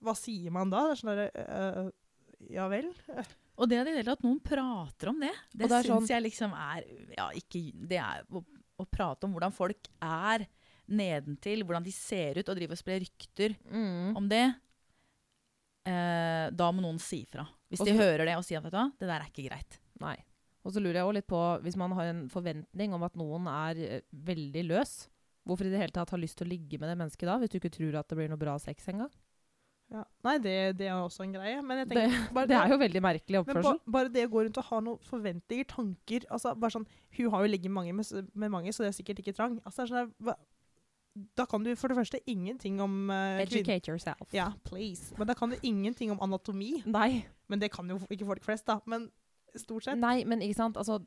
[SPEAKER 2] Hva sier man da? Det er sånn herre øh, Ja vel?
[SPEAKER 3] Og det at i det hele tatt noen prater om det, det,
[SPEAKER 1] Og det er
[SPEAKER 3] syns
[SPEAKER 1] sånn-
[SPEAKER 3] jeg liksom er ja, ikke, Det er å, å prate om hvordan folk er nedentil, hvordan de ser ut, og drive og spre rykter
[SPEAKER 1] Mm.
[SPEAKER 3] om det. Eh, da må noen si fra. Hvis de
[SPEAKER 1] Og så-
[SPEAKER 3] hører det og sier at vet du hva, det der er ikke greit.
[SPEAKER 1] Nei. Og så lurer jeg også litt på, hvis man har en forventning om at noen er eh, veldig løs, hvorfor i det hele tatt har lyst til å ligge med det mennesket da, hvis du ikke tror at det blir noe bra sex engang?
[SPEAKER 2] Ja. Nei, det, det er også en greie. Men jeg
[SPEAKER 1] Det,
[SPEAKER 2] tenker bare-
[SPEAKER 1] *laughs* det er jo veldig
[SPEAKER 2] Men
[SPEAKER 1] merkelig
[SPEAKER 2] ba,
[SPEAKER 1] oppførsel.
[SPEAKER 2] bare det å gå rundt og ha noen forventninger, tanker altså bare sånn, Hun har jo ligget mange med, s- med mange, så det er sikkert ikke trang. Altså, det er sånn, der, hva, da kan du for det første ingenting om uh,
[SPEAKER 1] Educate yourself.
[SPEAKER 2] Ja, please. Men da kan du ingenting om anatomi.
[SPEAKER 1] Nei.
[SPEAKER 2] Men det kan jo ikke folk flest, da. Men stort sett.
[SPEAKER 1] Nei, men ikke sant, altså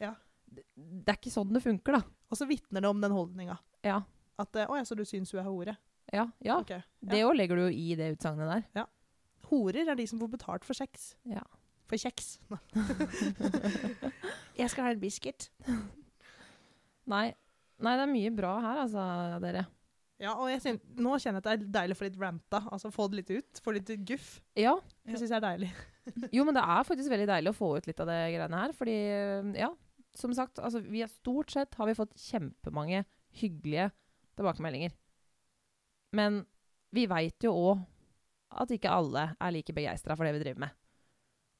[SPEAKER 2] Ja.
[SPEAKER 1] det, det er ikke sånn det funker, da.
[SPEAKER 2] Og så vitner det om den holdninga.
[SPEAKER 1] Ja.
[SPEAKER 2] At eh, 'Å ja, så du syns hun er hore'?
[SPEAKER 1] Ja, ja.
[SPEAKER 2] Ok.
[SPEAKER 1] Det òg legger du jo i det utsagnet der.
[SPEAKER 2] Horer er de som får betalt for sex.
[SPEAKER 1] Ja.
[SPEAKER 2] For
[SPEAKER 1] *laughs*
[SPEAKER 2] kjeks. *laughs* Jeg skal ha en biscuit.
[SPEAKER 1] Nei. Nei, det er mye bra her, altså, dere.
[SPEAKER 2] Ja, og jeg syn- nå kjenner jeg at det er deilig å få litt ranta. Altså få det litt ut. Få litt guff.
[SPEAKER 1] Ja.
[SPEAKER 2] Det syns jeg er deilig.
[SPEAKER 1] Jo, men det er faktisk veldig deilig å få ut litt av det greiene her. Fordi, ja, som sagt, altså, vi er stort sett har vi fått kjempemange hyggelige tilbakemeldinger. Men vi veit jo òg at ikke alle er like begeistra for det vi driver med.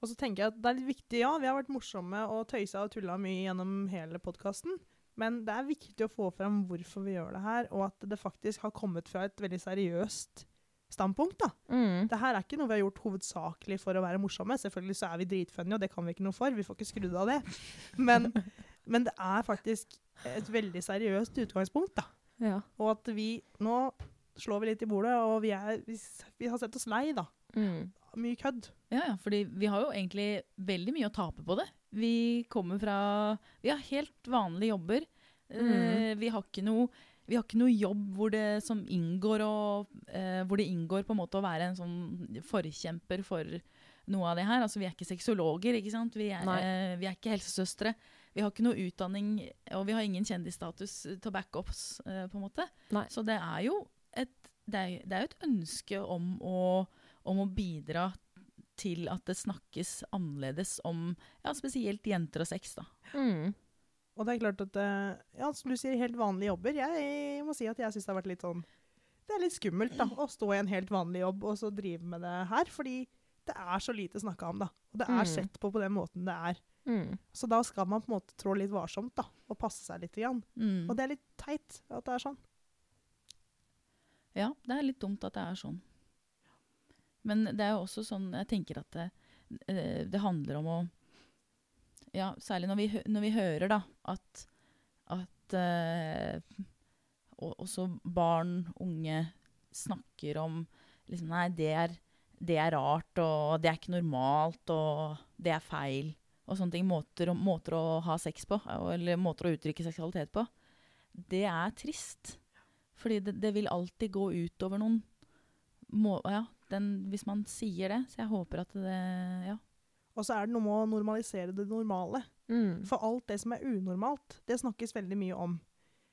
[SPEAKER 2] Og så tenker jeg at det er litt viktig, ja, vi har vært morsomme og tøysa og tulla mye gjennom hele podkasten, men det er viktig å få fram hvorfor vi gjør det her, og at det faktisk har kommet fra et veldig seriøst standpunkt, da.
[SPEAKER 1] Mm.
[SPEAKER 2] Det her er ikke noe vi har gjort hovedsakelig for å være morsomme. Selvfølgelig så er vi dritfunny, og det kan vi ikke noe for. Vi får ikke skrudd av det. Men, men det er faktisk et veldig seriøst utgangspunkt, da.
[SPEAKER 1] Ja.
[SPEAKER 2] Og at vi Nå slår vi litt i bordet, og vi, er, vi, s- vi har sett oss lei, da.
[SPEAKER 1] Mm.
[SPEAKER 2] Mye kødd.
[SPEAKER 3] Ja, ja, fordi vi har jo egentlig veldig mye å tape på det. Vi kommer fra Vi har helt vanlige jobber. Eh, vi, har ikke noe, vi har ikke noe jobb hvor det, som inngår å, eh, hvor det inngår på en måte å være en sånn forkjemper for noe av det her. Altså, vi er ikke sexologer, ikke sant? Vi er,
[SPEAKER 1] Nei.
[SPEAKER 3] eh, vi er ikke helsesøstre. Vi har ikke noe utdanning, og vi har ingen kjendisstatus til å backe oss, eh, på en måte.
[SPEAKER 1] Nei.
[SPEAKER 3] Så det er jo et, det er, det er jo et ønske om å, om å bidra til at det snakkes annerledes om ja, spesielt jenter og sex. Da.
[SPEAKER 1] Mm.
[SPEAKER 2] Og det er klart at eh, Ja, som du sier, helt vanlige jobber. Jeg må si at jeg syns det har vært litt sånn Det er litt skummelt, da. Å stå i en helt vanlig jobb og så drive med det her. Fordi det er så lite snakka om, da. Og det
[SPEAKER 1] Mm.
[SPEAKER 2] er sett på på den måten det er.
[SPEAKER 1] Mm.
[SPEAKER 2] Så da skal man på en måte trå litt varsomt da, og passe seg litt. Grann.
[SPEAKER 3] Mm.
[SPEAKER 2] Og det er litt teit at det er sånn.
[SPEAKER 3] Ja, det er litt dumt at det er sånn. Men det er jo også sånn, jeg tenker at det, eh, det handler om å Ja, særlig når vi, hø- når vi hører da, at, at eh, og, også barn, unge, snakker om liksom, Nei, det er, det er rart, og det er ikke normalt, og det er feil. Og sånne ting. Måter, å- måter å ha sex på, eh, eller måter å uttrykke seksualitet på. Det er trist. Fordi det, det vil alltid gå ut over noen. Må, ja, den, hvis man sier det. Så jeg håper at det Ja.
[SPEAKER 2] Og så er det noe med å normalisere det normale.
[SPEAKER 1] Mm.
[SPEAKER 2] For alt det som er unormalt, det snakkes veldig mye om.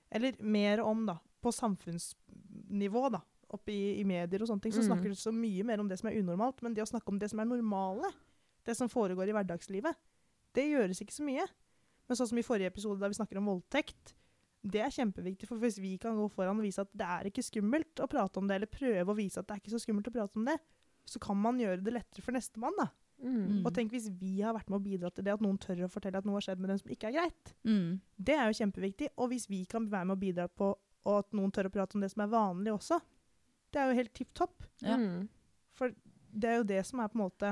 [SPEAKER 2] Eller mer om, da. På samfunnsnivå, da. Oppe i, i medier og sånne ting, så
[SPEAKER 1] Mm.
[SPEAKER 2] snakker det så mye mer om det som er unormalt. Men det å snakke om det som er normale, det som foregår i hverdagslivet, det gjøres ikke så mye. Men sånn som i forrige episode, da vi snakker om voldtekt, det er kjempeviktig. For hvis vi kan gå foran og vise at det er ikke skummelt å prate om det, eller prøve å vise at det er ikke så skummelt å prate om det, så kan man gjøre det lettere for nestemann, da.
[SPEAKER 1] Mm.
[SPEAKER 2] Og tenk hvis vi har vært med å bidra til det, at noen tør å fortelle at noe har skjedd med dem som ikke er greit.
[SPEAKER 3] Mm.
[SPEAKER 2] Det er jo kjempeviktig. Og hvis vi kan være med å bidra på og at noen tør å prate om det som er vanlig også, det er jo helt tipp topp.
[SPEAKER 3] Ja.
[SPEAKER 1] Mm.
[SPEAKER 2] For det er jo det som er på en måte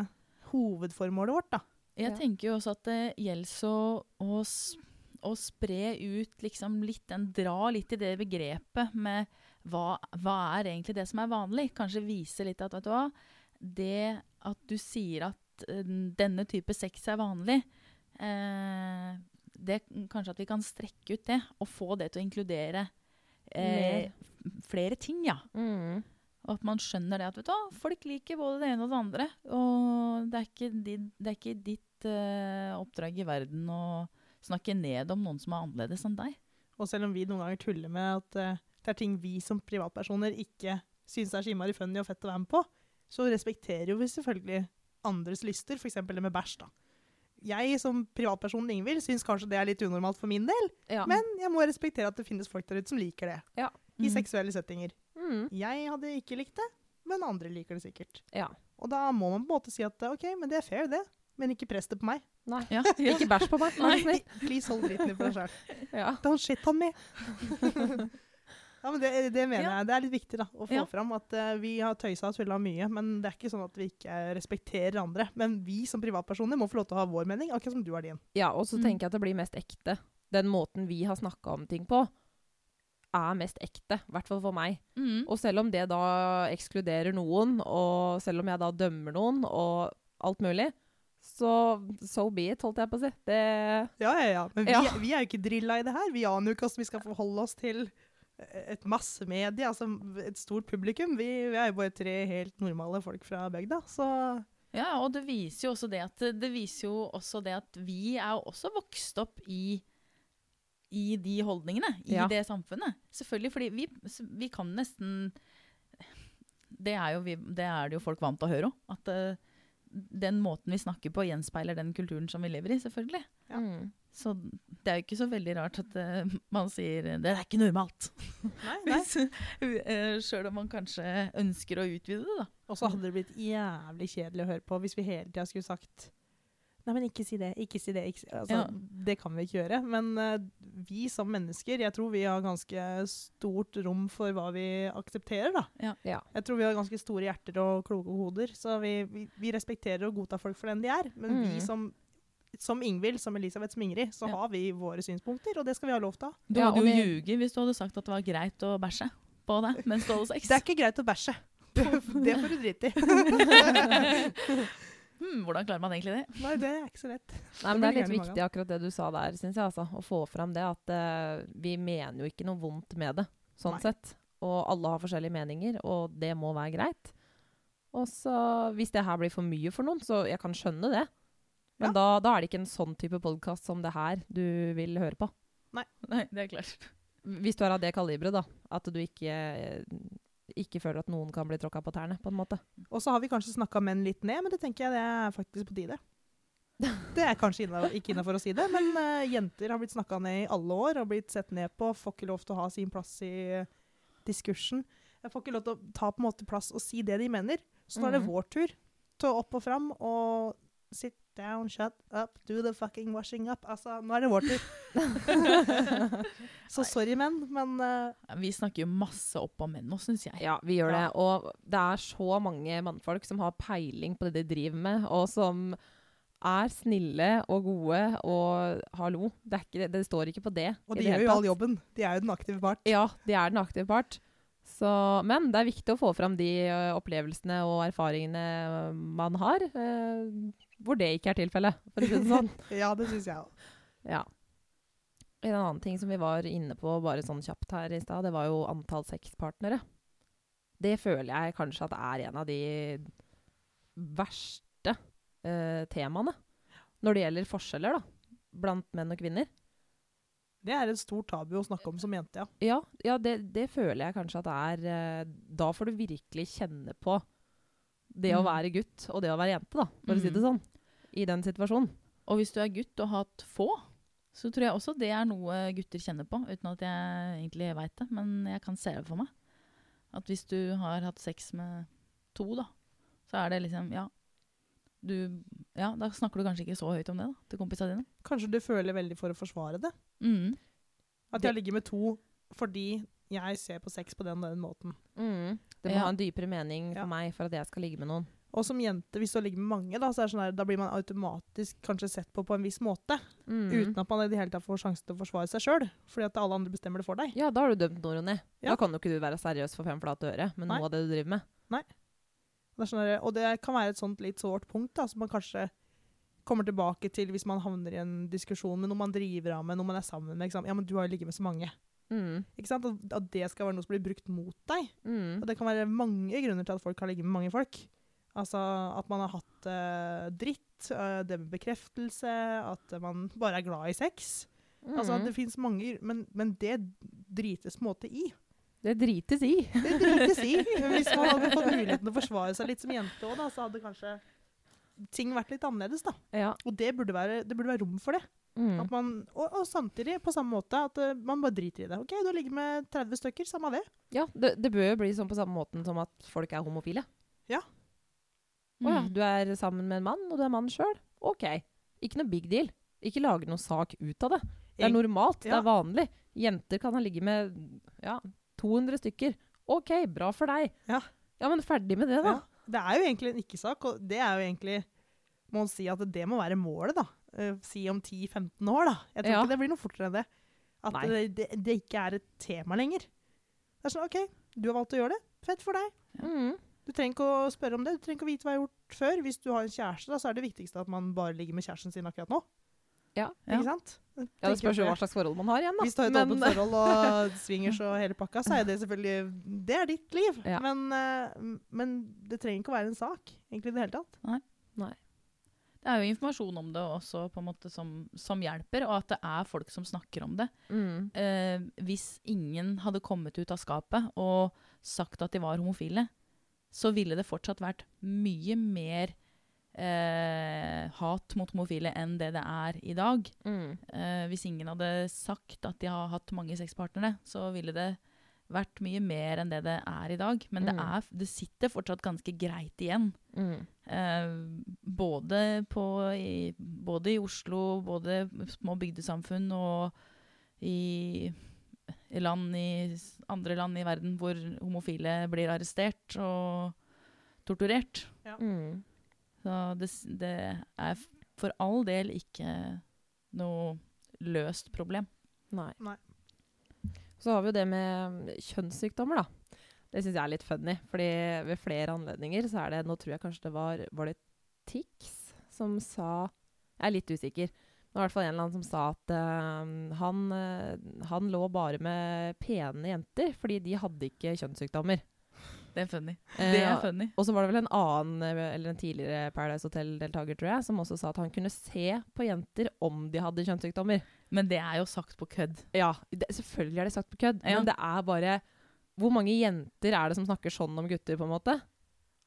[SPEAKER 2] hovedformålet vårt, da.
[SPEAKER 3] Jeg
[SPEAKER 1] Ja.
[SPEAKER 3] tenker jo også at det gjelder så å, s- å spre ut liksom litt den Dra litt i det begrepet med hva, hva er egentlig det som er vanlig? Kanskje vise litt at vet du hva, det at du sier at eh, denne type sex er vanlig eh, det, Kanskje at vi kan strekke ut det og få det til å inkludere eh, flere ting, ja.
[SPEAKER 1] Mm.
[SPEAKER 3] Og at man skjønner det at vet du, hva, folk liker både det ene og det andre. Og det er ikke, di, det er ikke ditt eh, oppdrag i verden å snakke ned om noen som er annerledes enn deg.
[SPEAKER 2] Og selv om vi noen ganger tuller med at eh, det er ting vi som privatpersoner ikke syns er så innmari funny og fett å være med på, så respekterer jo vi selvfølgelig andres lyster, f.eks. det med bæsj, da. Jeg som privatpersonen Ingvild syns kanskje det er litt unormalt for min del.
[SPEAKER 1] Ja.
[SPEAKER 2] Men jeg må respektere at det finnes folk der ute som liker det.
[SPEAKER 1] Ja.
[SPEAKER 2] I
[SPEAKER 3] Mm.
[SPEAKER 2] seksuelle settinger.
[SPEAKER 1] Mm.
[SPEAKER 2] Jeg hadde ikke likt det, men andre liker det sikkert.
[SPEAKER 1] ja.
[SPEAKER 2] Og da må man på en måte si at OK, men det er fair, det. Men ikke press det på meg.
[SPEAKER 1] Nei.
[SPEAKER 3] Ja,
[SPEAKER 1] Ikke bæsj på meg, *laughs* vær så snill.
[SPEAKER 2] Please hold dritten din for
[SPEAKER 3] *laughs*
[SPEAKER 2] deg sjøl.
[SPEAKER 1] Ja.
[SPEAKER 2] Don't shit on me. ja, men det, det mener
[SPEAKER 3] Ja.
[SPEAKER 2] jeg. Det er litt viktig da, å få
[SPEAKER 3] Ja.
[SPEAKER 2] fram at eh, vi har tøysa og tulla mye. Men det er ikke sånn at vi ikke respekterer andre. Men vi som privatpersoner må få lov til å ha vår mening, akkurat som du har din.
[SPEAKER 1] ja, og så
[SPEAKER 3] Mm.
[SPEAKER 1] tenker jeg at det blir mest ekte. Den måten vi har snakka om ting på, er mest ekte. I hvert fall for meg.
[SPEAKER 3] Mm.
[SPEAKER 1] Og selv om det da ekskluderer noen, og selv om jeg da dømmer noen, og alt mulig, så so be it, holdt jeg på å si. Det
[SPEAKER 2] Ja, ja, ja. Men vi,
[SPEAKER 1] Ja.
[SPEAKER 2] vi er jo ikke drilla i det her. Vi aner jo ikke hvordan vi skal forholde oss til et massemedie, altså et stort publikum. Vi, vi er jo bare tre helt normale folk fra bygda, så
[SPEAKER 3] ja, og det viser jo også det at det viser jo også det at vi er jo også vokst opp i i de holdningene, i
[SPEAKER 1] Ja.
[SPEAKER 3] det samfunnet. Selvfølgelig, fordi vi, s- vi kan nesten det er, jo vi, det er det jo folk vant til å høre òg. At eh, den måten vi snakker på, gjenspeiler den kulturen som vi lever i, selvfølgelig.
[SPEAKER 2] Ja.
[SPEAKER 1] Mm.
[SPEAKER 3] Så det er jo ikke så veldig rart at eh, man sier det er ikke normalt.
[SPEAKER 2] nei, *laughs* nei.
[SPEAKER 3] *laughs* Hvis, eh, Sjøl om man kanskje ønsker å utvide det, da.
[SPEAKER 2] Og så hadde det blitt jævlig kjedelig å høre på hvis vi hele tida skulle sagt Nei, men ikke si det. Ikke si det. Ikke si. Altså,
[SPEAKER 3] Ja.
[SPEAKER 2] Det kan vi ikke gjøre. Men eh, vi som mennesker, jeg tror vi har ganske stort rom for hva vi aksepterer, da.
[SPEAKER 1] Ja.
[SPEAKER 2] Jeg tror vi har ganske store hjerter og kloke hoder, så vi, vi, vi respekterer og godtar folk for den de er. Men
[SPEAKER 1] Mm.
[SPEAKER 2] vi som, som Ingvild, som Elisabeth Smingri, så
[SPEAKER 3] Ja.
[SPEAKER 2] har vi våre synspunkter, og det skal vi ha lov til å ha.
[SPEAKER 3] Du
[SPEAKER 1] Ja,
[SPEAKER 3] hadde
[SPEAKER 1] og
[SPEAKER 3] jo
[SPEAKER 1] det-
[SPEAKER 3] ljuget hvis du hadde sagt at det var greit å bæsje på deg mens du hadde sex.
[SPEAKER 2] Det er ikke greit å bæsje. *laughs* Det får du drite i.
[SPEAKER 3] hmm, hvordan klarer man egentlig det?
[SPEAKER 2] *laughs*
[SPEAKER 3] *laughs*
[SPEAKER 2] Nei, det er ikke så lett.
[SPEAKER 1] Nei,
[SPEAKER 2] Da
[SPEAKER 1] men Det
[SPEAKER 2] blir det
[SPEAKER 1] er litt
[SPEAKER 2] gjerne i magen.
[SPEAKER 1] viktig akkurat det du sa der, synes jeg. Altså, å få fram det at eh, vi mener jo ikke noe vondt med det, sånn
[SPEAKER 2] Nei.
[SPEAKER 1] sett. Og alle har forskjellige meninger, og det må være greit. Og så, hvis det her blir for mye for noen, så jeg kan skjønne det. Men
[SPEAKER 2] Ja.
[SPEAKER 1] da, da er det ikke en sånn type podkast som det her du vil høre på.
[SPEAKER 3] Nei, det er klart.
[SPEAKER 2] Mm.
[SPEAKER 1] Hvis du er av det kaliberet, da. At du ikke, eh, ikke føler at noen kan bli tråkka på tærne, på en måte.
[SPEAKER 2] Og så har vi kanskje snakka menn litt ned, men det tenker jeg det er faktisk på tide. Det er kanskje inna- ikke innafor å si det, men eh, jenter har blitt snakka ned i alle år og blitt sett ned på. Får ikke lov til å ha sin plass i eh, diskursen. Jeg får ikke lov til å ta på en måte plass og si det de mener. Så nå er det
[SPEAKER 1] Mhm.
[SPEAKER 2] vår tur til å opp og fram og sit down, shut up, do the fucking washing up. Altså, nå er det vår tur.
[SPEAKER 1] *laughs*
[SPEAKER 2] så sorry, menn, men eh,
[SPEAKER 3] Vi snakker jo masse opp om menn nå, syns jeg.
[SPEAKER 1] Ja, vi gjør
[SPEAKER 2] Ja.
[SPEAKER 1] det. Og det er så mange mannfolk som har peiling på det de driver med, og som er snille og gode og hallo. Det, er ikke, det står ikke på det.
[SPEAKER 2] Og
[SPEAKER 1] i
[SPEAKER 2] de
[SPEAKER 1] det
[SPEAKER 2] gjør
[SPEAKER 1] hele
[SPEAKER 2] jo
[SPEAKER 1] tatt.
[SPEAKER 2] all jobben. De er jo den aktive part.
[SPEAKER 1] Ja, de er den aktive part. Så, men det er viktig å få fram de ø, opplevelsene og erfaringene ø, man har, ø, hvor det ikke er tilfellet, for å si det sånn.
[SPEAKER 2] Ja, det syns jeg òg.
[SPEAKER 1] Ja. En annen ting som vi var inne på bare sånn kjapt her i stad, det var jo antall sexpartnere. Det føler jeg kanskje at er en av de verste eh, temaene når det gjelder forskjeller da, blant menn og kvinner.
[SPEAKER 2] Det er et stort tabu å snakke om som jente, ja.
[SPEAKER 1] Ja, ja det, det føler jeg kanskje at det er eh, Da får du virkelig kjenne på det å
[SPEAKER 3] Mm.
[SPEAKER 1] være gutt og det å være jente, da, for å si det sånn. I den situasjonen.
[SPEAKER 3] Og hvis du er gutt og har hatt få, så tror jeg også det er noe gutter kjenner på, uten at jeg egentlig veit det, men jeg kan se det for meg. At hvis du har hatt sex med to, da, så er det liksom Ja, du, ja da snakker du kanskje ikke så høyt om det da, til kompisa dine.
[SPEAKER 2] Kanskje du føler veldig for å forsvare det.
[SPEAKER 3] Mm.
[SPEAKER 2] At jeg ligger med to fordi jeg ser på sex på den, den måten.
[SPEAKER 1] Det må
[SPEAKER 3] Ja.
[SPEAKER 1] ha en dypere mening for
[SPEAKER 2] Ja.
[SPEAKER 1] meg for at jeg skal ligge med noen.
[SPEAKER 2] Og som jente, hvis du ligger med mange, da, så er det sånn der, da blir man automatisk kanskje sett på på en viss måte.
[SPEAKER 1] Mm.
[SPEAKER 2] Uten at man i det hele tatt får sjansen til å forsvare seg sjøl. Fordi at alle andre bestemmer det for deg.
[SPEAKER 1] Ja, da har du dømt noe, Ronny.
[SPEAKER 2] Ja.
[SPEAKER 1] Da kan jo ikke du være seriøs for fem flate øre med
[SPEAKER 2] Nei.
[SPEAKER 1] noe av det du driver med.
[SPEAKER 2] Det er sånn der, og det kan være et sånt litt sårt punkt da, som man kanskje kommer tilbake til hvis man havner i en diskusjon med noen man driver av med, noen man er sammen med. Ikke sant? Ja, men du har jo ligget med så mange.
[SPEAKER 1] Mm.
[SPEAKER 2] Ikke sant? At, at det skal være noe som blir brukt mot deg.
[SPEAKER 1] Mm.
[SPEAKER 2] Og det kan være mange grunner til at folk har ligget med mange folk. Altså at man har hatt eh, dritt, eh, det med bekreftelse, at man bare er glad i sex.
[SPEAKER 1] Mm.
[SPEAKER 2] Altså Det fins mange gr- men, men det drites på en måte i.
[SPEAKER 1] Det drites i.
[SPEAKER 2] Det drites
[SPEAKER 1] *laughs*
[SPEAKER 2] i. Hvis man hadde fått muligheten til å forsvare seg litt som jente òg, så hadde kanskje ting vært litt annerledes. da.
[SPEAKER 1] Ja.
[SPEAKER 2] Og det burde være, det burde være rom for det.
[SPEAKER 1] Mm.
[SPEAKER 2] At man, og, og samtidig, på samme måte, at eh, man bare driter i det. OK, du har ligget med 30 stykker, samme det.
[SPEAKER 1] ja det, det bør jo bli sånn på samme måten som at folk er homofile.
[SPEAKER 3] Mm.
[SPEAKER 1] Å
[SPEAKER 2] Mm.
[SPEAKER 1] ja, du er sammen med en mann, og du er mann sjøl. OK. Ikke noe big deal. Ikke lage noe sak ut av det. Det er
[SPEAKER 2] Eng-
[SPEAKER 1] normalt. Det
[SPEAKER 2] Ja.
[SPEAKER 1] er vanlig. Jenter kan ha ligget med ja, 200 stykker. OK, bra for deg.
[SPEAKER 2] Ja.
[SPEAKER 1] ja, men ferdig med det, da.
[SPEAKER 2] Ja. Det er jo egentlig en ikke-sak, og det er jo egentlig må man si at det må være målet, da. Eh, si om 10-15 år, da. Jeg tror
[SPEAKER 1] Ja.
[SPEAKER 2] ikke det blir noe fortere enn det. At
[SPEAKER 1] Nei.
[SPEAKER 2] det, det, det ikke er et tema lenger. Det er sånn OK, du har valgt å gjøre det. Fett for deg.
[SPEAKER 1] Mm.
[SPEAKER 2] Du trenger ikke å spørre om det. Du trenger ikke å vite hva jeg har gjort før. Hvis du har en kjæreste, da, så er det viktigste at man bare ligger med kjæresten sin akkurat nå.
[SPEAKER 1] Ja.
[SPEAKER 3] Ja.
[SPEAKER 2] Ikke sant?
[SPEAKER 1] ja, det
[SPEAKER 2] Tenker
[SPEAKER 1] spørs jo
[SPEAKER 2] jeg.
[SPEAKER 1] hva slags forhold man har igjen, da.
[SPEAKER 2] Hvis du har et
[SPEAKER 1] Men-
[SPEAKER 2] åpent forhold og *laughs* swingers og hele pakka, så er det selvfølgelig Det er ditt liv.
[SPEAKER 1] Ja.
[SPEAKER 2] Men, eh, men det trenger ikke å være en sak, egentlig, i det hele tatt.
[SPEAKER 3] Det er jo informasjon om det også på en måte som, som hjelper, og at det er folk som snakker om det.
[SPEAKER 1] Mm.
[SPEAKER 3] Eh, hvis ingen hadde kommet ut av skapet og sagt at de var homofile, så ville det fortsatt vært mye mer eh, hat mot homofile enn det det er i dag.
[SPEAKER 1] Mm.
[SPEAKER 3] Eh, hvis ingen hadde sagt at de har hatt mange sexpartnere, så ville det vært mye mer enn det det er i dag. Men det,
[SPEAKER 1] Mm.
[SPEAKER 3] er, det sitter fortsatt ganske greit igjen.
[SPEAKER 1] Mm.
[SPEAKER 3] Eh, både, på, i, både i Oslo, både små bygdesamfunn og i, i land i s- andre land i verden hvor homofile blir arrestert og torturert.
[SPEAKER 1] Mm.
[SPEAKER 3] Så det, s- det er f- for all del ikke noe løst problem.
[SPEAKER 1] Nei.
[SPEAKER 2] Nei.
[SPEAKER 1] Så har vi jo det med kjønnssykdommer, da. Det syns jeg er litt funny, fordi ved flere anledninger så er det Nå tror jeg kanskje det var Var det Tix som sa Jeg er litt usikker. Men det var i hvert fall en eller annen som sa at eh, han, eh, han lå bare med pene jenter fordi de hadde ikke kjønnssykdommer.
[SPEAKER 3] Det er funny.
[SPEAKER 1] Eh,
[SPEAKER 3] *laughs* Det er funny.
[SPEAKER 1] og så var det vel en annen, eh, eller en tidligere Paradise Hotel-deltaker, tror jeg, som også sa at han kunne se på jenter om de hadde kjønnssykdommer.
[SPEAKER 3] Men det er jo sagt på kødd.
[SPEAKER 1] Ja, det, selvfølgelig er det sagt på kødd,
[SPEAKER 3] Ja.
[SPEAKER 1] men det er bare Hvor mange jenter er det som snakker sånn om gutter, på en måte?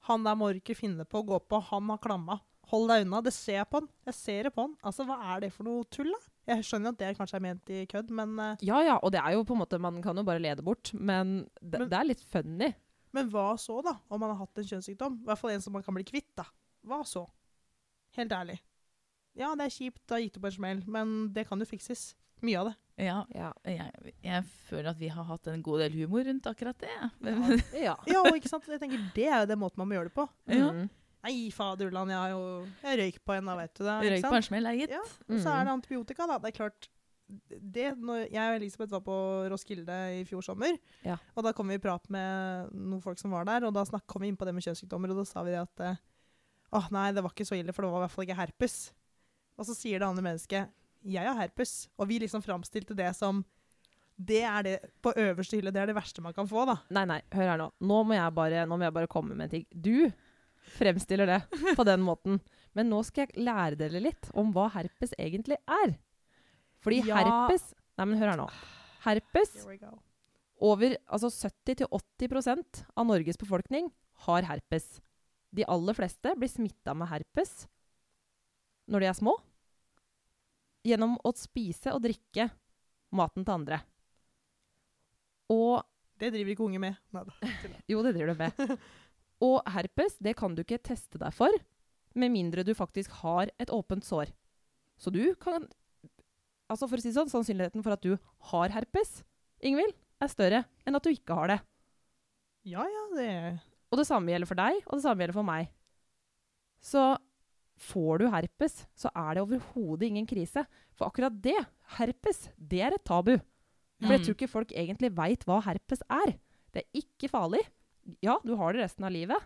[SPEAKER 2] Han der må du ikke finne på å gå på. Han har klamma. Hold deg unna. Det ser jeg på han. Jeg ser det på han. Altså, hva er det for noe tull, da? Jeg skjønner at det kanskje er ment i kødd, men, eh,
[SPEAKER 1] Ja ja, og det er jo på en måte Man kan jo bare lede bort, men det,
[SPEAKER 2] Men-
[SPEAKER 1] det er litt funny.
[SPEAKER 2] men hva så, da? Om man har hatt en kjønnssykdom? I hvert fall en som man kan bli kvitt, da. Hva så? Helt ærlig. Ja, det er kjipt, da gikk du på en smell, men det kan jo fikses. Mye
[SPEAKER 1] *laughs*
[SPEAKER 2] av det.
[SPEAKER 3] Ja,
[SPEAKER 1] Ja.
[SPEAKER 3] jeg, jeg føler at vi har hatt en god del humor rundt akkurat det. *laughs* ja.
[SPEAKER 1] ja.
[SPEAKER 2] Ja, og ikke sant? Jeg tenker, Det er jo den måten man må gjøre det på.
[SPEAKER 3] Ja.
[SPEAKER 1] Mm.
[SPEAKER 2] Nei, faderullan, jeg, har jo- jeg røyk på en, da, vet du det. ikke
[SPEAKER 3] Røyk
[SPEAKER 2] sant?
[SPEAKER 3] på en smell, er gitt.
[SPEAKER 2] Ja, og så er
[SPEAKER 1] Mm.
[SPEAKER 2] det antibiotika, da. Det er klart det, når Jeg og Elisabeth var på Roskilde i fjor sommer,
[SPEAKER 1] Ja.
[SPEAKER 2] og da kom vi i prat med noen folk som var der, og da snakk, kom vi inn på det med kjønnssykdommer, og da sa vi det at eh, åh nei, det var ikke så ille, for det var i hvert fall ikke herpes. Og så sier det andre mennesket jeg har herpes, og vi liksom framstilte det som det er det på øverste hylle, det er det verste man kan få, da.
[SPEAKER 1] Nei, nei, hør her nå. Nå må, jeg bare, nå må jeg bare komme med en ting. Du fremstiller det på den måten. Men nå skal jeg lære dere litt om hva herpes egentlig er. Fordi
[SPEAKER 2] Ja.
[SPEAKER 1] herpes Nei, men hør her nå. Herpes
[SPEAKER 2] Here we go.
[SPEAKER 1] Over altså 70-80 av Norges befolkning har herpes. De aller fleste blir smitta med herpes når de er små, gjennom å spise og drikke maten til andre. Og
[SPEAKER 2] Det driver ikke unge med. Neida.
[SPEAKER 1] jo, det driver du med. Og herpes det kan du ikke teste deg for med mindre du faktisk har et åpent sår. Så du kan Altså for å si det sånn, Sannsynligheten for at du har herpes, Ingvild, er større enn at du ikke har det.
[SPEAKER 2] Ja ja, det
[SPEAKER 1] Og det samme gjelder for deg, og det samme gjelder for meg. Så får du herpes, så er det overhodet ingen krise. For akkurat det, herpes, det er et tabu. For jeg
[SPEAKER 3] Mm.
[SPEAKER 1] tror ikke folk egentlig veit hva herpes er. Det er ikke farlig. Ja, du har det resten av livet,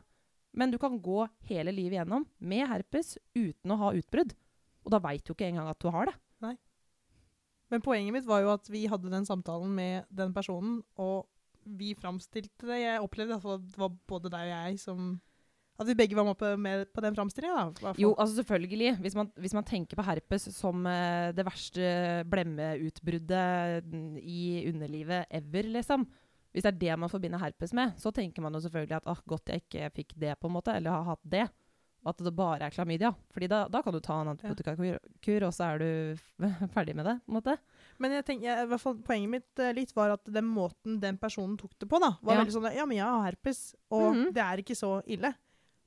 [SPEAKER 1] men du kan gå hele livet gjennom med herpes uten å ha utbrudd. Og da veit du ikke engang at du har det.
[SPEAKER 2] Men poenget mitt var jo at vi hadde den samtalen med den personen, og vi framstilte det. Jeg opplevde at det var både deg og jeg som At vi begge var med på, med på den framstillinga, da. i hvert fall.
[SPEAKER 1] Jo, altså selvfølgelig. Hvis man, hvis man tenker på herpes som eh, det verste blemmeutbruddet mm, i underlivet ever, liksom. Hvis det er det man forbinder herpes med, så tenker man jo selvfølgelig at ah, godt jeg ikke fikk det, på en måte, eller har hatt det. Og at det bare er klamydia. Fordi da, da kan du ta en antibiotikakur, og så er du *laughs* ferdig med det. på en måte.
[SPEAKER 2] Men jeg tenker, jeg, i hvert fall poenget mitt eh, litt var at den måten den personen tok det på, da, var
[SPEAKER 1] Ja.
[SPEAKER 2] veldig sånn der, Ja, men jeg har herpes, og
[SPEAKER 1] Mhm.
[SPEAKER 2] det er ikke så ille.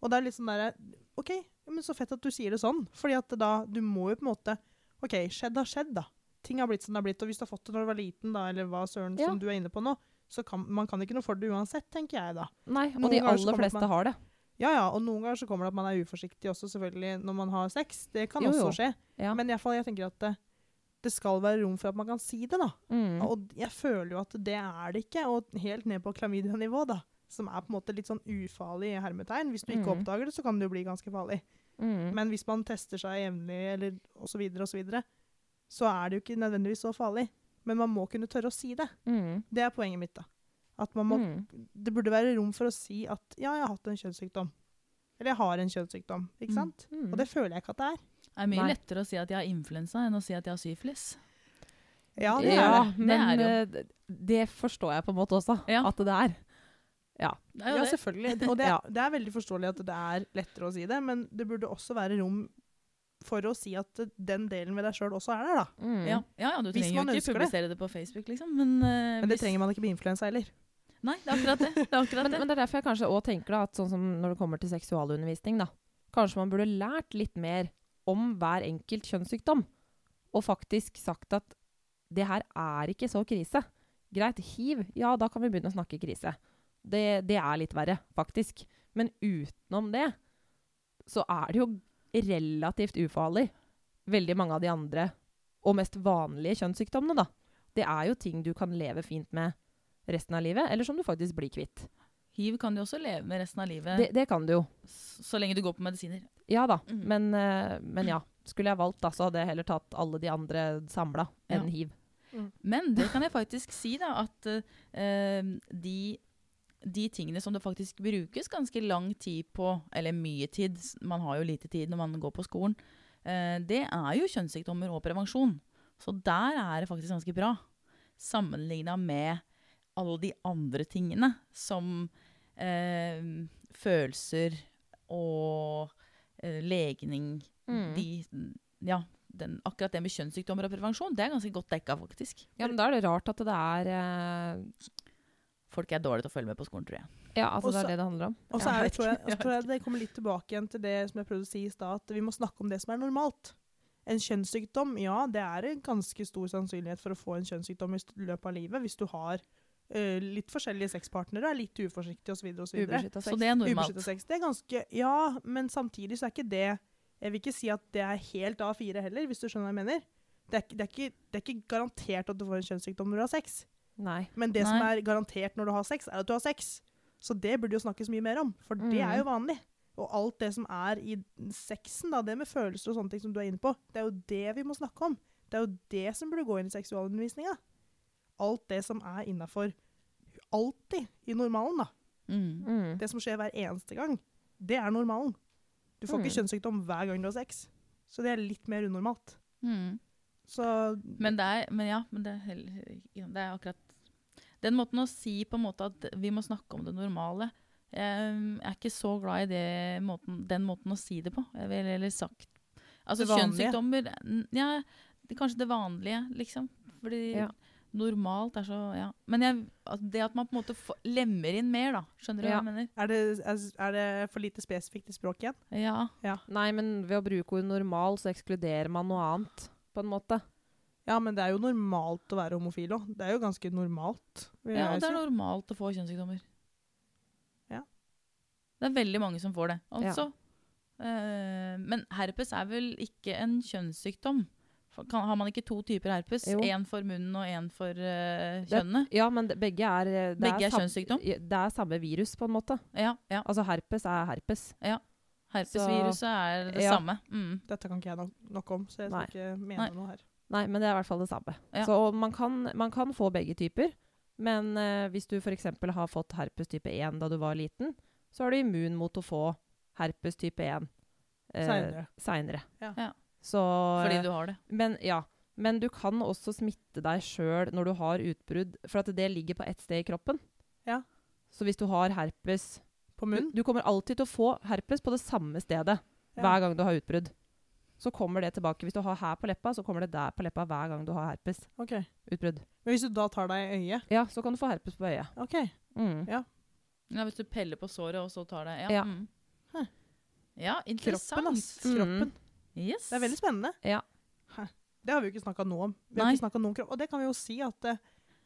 [SPEAKER 2] Og det er litt sånn derre OK, ja, men så fett at du sier det sånn. Fordi at da Du må jo på en måte OK, skjedd har skjedd, da. Ting har blitt som det har blitt. Og hvis du har fått det når du var liten, da, eller hva søren
[SPEAKER 1] Ja.
[SPEAKER 2] som du er inne på nå, så kan man kan ikke noe for det uansett, tenker jeg da.
[SPEAKER 1] Nei, og
[SPEAKER 2] Noen
[SPEAKER 1] de
[SPEAKER 2] ganger så
[SPEAKER 1] aller
[SPEAKER 2] kommer det at
[SPEAKER 1] fleste har det.
[SPEAKER 2] Ja, ja, og noen ganger så kommer det at man er uforsiktig også, selvfølgelig, når man har sex. Det kan
[SPEAKER 1] Jo, jo.
[SPEAKER 2] også skje.
[SPEAKER 1] Ja.
[SPEAKER 2] Men i hvert fall, jeg tenker at det, det skal være rom for at man kan si det, da.
[SPEAKER 1] Mm.
[SPEAKER 2] Og jeg føler jo at det er det ikke, og helt ned på klamydia-nivå, da. Som er på en måte litt sånn ufarlig i hermetegn. Hvis du ikke
[SPEAKER 1] Mhm.
[SPEAKER 2] oppdager det, så kan det jo bli ganske farlig.
[SPEAKER 1] Mm.
[SPEAKER 2] Men hvis man tester seg jevnlig, eller osv., osv., så er det jo ikke nødvendigvis så farlig. Men man må kunne tørre å si det.
[SPEAKER 1] Mm.
[SPEAKER 2] Det er poenget mitt, da. At man må
[SPEAKER 1] Mm.
[SPEAKER 2] det burde være rom for å si at ja, jeg har hatt en kjønnssykdom. Eller jeg har en kjønnssykdom.
[SPEAKER 3] Mm.
[SPEAKER 2] Ikke sant?
[SPEAKER 1] Mm.
[SPEAKER 2] Og det føler jeg ikke at det er.
[SPEAKER 3] Det er mye
[SPEAKER 1] Nei.
[SPEAKER 3] lettere å si at jeg har influensa enn å si at jeg har syfilis.
[SPEAKER 2] Ja,
[SPEAKER 3] det er
[SPEAKER 1] ja,
[SPEAKER 3] det. Det
[SPEAKER 1] men
[SPEAKER 3] er det
[SPEAKER 1] eh, det, det forstår jeg på en måte også,
[SPEAKER 3] Ja.
[SPEAKER 1] at det er.
[SPEAKER 3] Det er jo det. *laughs*
[SPEAKER 2] selvfølgelig. Og det,
[SPEAKER 1] Ja.
[SPEAKER 2] det er veldig forståelig at det er lettere å si det, men det burde også være rom for å si at den delen ved deg sjøl også er der, da.
[SPEAKER 1] Mm.
[SPEAKER 3] Ja, ja, ja du
[SPEAKER 2] Hvis
[SPEAKER 3] trenger jo
[SPEAKER 2] man
[SPEAKER 3] ikke
[SPEAKER 2] ønsker det.
[SPEAKER 3] publisere det. på Facebook, liksom. Men, eh,
[SPEAKER 2] Men det
[SPEAKER 3] hvis-
[SPEAKER 2] trenger man ikke med influensa heller.
[SPEAKER 3] Nei, det er akkurat det. det, er
[SPEAKER 2] *laughs*
[SPEAKER 3] akkurat
[SPEAKER 1] Men,
[SPEAKER 3] det.
[SPEAKER 1] men det er derfor jeg kanskje også tenker da, at sånn som når det kommer til seksualundervisning, da, kanskje man burde lært litt mer om hver enkelt kjønnssykdom. Og faktisk sagt at det her er ikke så krise. Greit, hiv, ja da kan vi begynne å snakke krise. Det, det er litt verre, faktisk. Men utenom det, så er det jo relativt ufarlig. Veldig mange av de andre, og mest vanlige kjønnssykdommene, da. Det er jo ting du kan leve fint med resten av livet, eller som du faktisk blir kvitt.
[SPEAKER 3] Hiv kan du også leve med resten av livet,
[SPEAKER 1] Det, det kan du jo.
[SPEAKER 3] s- så lenge du går på medisiner.
[SPEAKER 1] Ja da.
[SPEAKER 3] Mm.
[SPEAKER 1] Men, eh, men ja. Skulle jeg valgt, da, så hadde jeg heller tatt alle de andre samla enn
[SPEAKER 3] Ja.
[SPEAKER 1] hiv.
[SPEAKER 3] Men det kan jeg faktisk si, da, at eh, de, de tingene som det faktisk brukes ganske lang tid på, eller mye tid, s- man har jo lite tid når man går på skolen, eh, det er jo kjønnssykdommer og prevensjon. Så der er det faktisk ganske bra, sammenligna med alle de andre tingene, som eh, følelser og eh, legning
[SPEAKER 1] Mm.
[SPEAKER 3] de, Ja, den, akkurat det med kjønnssykdommer og prevensjon, det er ganske godt dekka, faktisk.
[SPEAKER 1] Ja, men Da er det rart at det er eh,
[SPEAKER 3] Folk er dårlige til å følge med på skolen, tror jeg.
[SPEAKER 1] Ja, altså
[SPEAKER 2] Også-
[SPEAKER 1] det er det det handler om.
[SPEAKER 2] Og så
[SPEAKER 3] Ja,
[SPEAKER 2] er
[SPEAKER 3] jeg
[SPEAKER 2] det,
[SPEAKER 3] vet
[SPEAKER 2] tror jeg,
[SPEAKER 3] ikke.
[SPEAKER 2] og så tror jeg det kommer litt tilbake igjen til det som jeg prøvde å si i stad, at vi må snakke om det som er normalt. En kjønnssykdom, ja, det er en ganske stor sannsynlighet for å få en kjønnssykdom i st- løpet av livet hvis du har ø, litt forskjellige sexpartnere, er litt uforsiktig osv. Ubeskytta
[SPEAKER 1] Ubeskytta
[SPEAKER 3] Så
[SPEAKER 1] sex.
[SPEAKER 3] det er normalt.
[SPEAKER 2] sex. Det er ganske Ja, men samtidig så er ikke det Jeg vil ikke si at det er helt A4 heller, hvis du skjønner hva jeg mener. Det er, ikke- det, er ikke, det er ikke garantert at du får en kjønnssykdom når du har sex.
[SPEAKER 1] Nei.
[SPEAKER 2] Men det som
[SPEAKER 3] Nei.
[SPEAKER 2] er garantert når du har sex, er at du har sex. Så det burde jo snakkes mye mer om, for det er
[SPEAKER 3] Mm.
[SPEAKER 2] jo vanlig. Og alt det som er i sexen, da, det med følelser og sånne ting som du er inne på, det er jo det vi må snakke om. Det er jo det som burde gå inn i seksualundervisninga. Alt det som er innafor alltid i normalen, da.
[SPEAKER 3] Mm.
[SPEAKER 1] Mm.
[SPEAKER 2] Det som skjer hver eneste gang, det er normalen. Du får
[SPEAKER 3] Mm.
[SPEAKER 2] ikke kjønnssykdom hver gang du har sex. Så det er litt mer unormalt.
[SPEAKER 3] Mm.
[SPEAKER 2] Så
[SPEAKER 3] Men det er, men ja, men det, er hell- ja, det er akkurat Den måten å si på en måte at vi må snakke om det normale ehm, Jeg er ikke så glad i det måten, den måten å si det på. Jeg vil heller sagt Altså
[SPEAKER 2] Det vanlige.
[SPEAKER 3] kjønnssykdommer n- Ja, det, kanskje det vanlige, liksom. Fordi
[SPEAKER 1] Ja.
[SPEAKER 3] normalt er så Ja. Men jeg, at det at man på en måte få- lemmer inn mer, da. Skjønner du
[SPEAKER 1] Ja.
[SPEAKER 3] hva jeg mener?
[SPEAKER 2] er det, er det for lite spesifikt i språket igjen?
[SPEAKER 3] Ja.
[SPEAKER 1] Nei, men ved å bruke ordet normal, så ekskluderer man noe annet, på en måte.
[SPEAKER 2] Ja, men det er jo normalt å være homofil òg. Det er jo ganske normalt. vil
[SPEAKER 3] Ja,
[SPEAKER 2] jeg
[SPEAKER 3] og det er
[SPEAKER 2] si.
[SPEAKER 3] normalt å få kjønnssykdommer.
[SPEAKER 2] Ja.
[SPEAKER 3] Det er veldig mange som får det.
[SPEAKER 1] Ja.
[SPEAKER 3] Altså, eh, men herpes er vel ikke en kjønnssykdom? For Kan, har man ikke to typer herpes?
[SPEAKER 1] Jo.
[SPEAKER 3] Én for munnen og én for eh,
[SPEAKER 1] Det-
[SPEAKER 3] kjønnet?
[SPEAKER 1] Ja, men det- begge er eh, det
[SPEAKER 3] Begge er
[SPEAKER 1] sam-
[SPEAKER 3] kjønnssykdom?
[SPEAKER 1] i- Det er samme virus, på en måte.
[SPEAKER 3] Ja, ja.
[SPEAKER 1] Altså herpes er herpes.
[SPEAKER 3] Herpesviruset er det
[SPEAKER 1] Ja.
[SPEAKER 3] samme. Mm.
[SPEAKER 2] Dette kan ikke jeg nok, nok om, så jeg skal
[SPEAKER 1] Nei.
[SPEAKER 2] ikke mene
[SPEAKER 3] Nei.
[SPEAKER 2] noe her.
[SPEAKER 1] Nei, men det er i hvert fall det samme.
[SPEAKER 3] Ja.
[SPEAKER 1] Så og man kan, man kan få begge typer. Men eh, hvis du f.eks. har fått herpes type 1 da du var liten, så er du immun mot å få herpes type 1
[SPEAKER 3] Eh.
[SPEAKER 2] Senere.
[SPEAKER 1] seinere.
[SPEAKER 2] Ja.
[SPEAKER 3] Ja.
[SPEAKER 1] Så eh,
[SPEAKER 3] Fordi du har det.
[SPEAKER 1] men, ja. men du kan også smitte deg sjøl når du har utbrudd, for at det ligger på ett sted i kroppen.
[SPEAKER 2] Ja.
[SPEAKER 1] Så hvis du har herpes
[SPEAKER 2] På
[SPEAKER 1] du,
[SPEAKER 2] munnen?
[SPEAKER 1] du kommer alltid til å få herpes på det samme stedet
[SPEAKER 2] Ja.
[SPEAKER 1] hver gang du har utbrudd. Så kommer det tilbake. Hvis du har her på leppa, så kommer det der på leppa hver gang du har herpes.
[SPEAKER 2] Ok.
[SPEAKER 1] Utbrudd.
[SPEAKER 2] Men hvis du da tar deg i øyet
[SPEAKER 1] Ja, så kan du få herpes på øyet.
[SPEAKER 2] OK.
[SPEAKER 1] Mm.
[SPEAKER 3] Ja, hvis du peller på såret og så tar det Ja,
[SPEAKER 1] Ja.
[SPEAKER 3] Mm.
[SPEAKER 2] Hæ.
[SPEAKER 3] ja interessant.
[SPEAKER 2] Kroppen, ass. Kroppen.
[SPEAKER 3] Yes.
[SPEAKER 2] Det er veldig spennende.
[SPEAKER 1] Ja.
[SPEAKER 2] Hæ. Det har vi jo ikke snakka noe om. Vi
[SPEAKER 3] Nei.
[SPEAKER 2] har ikke snakket noe om kropp. Og det kan vi jo si at eh,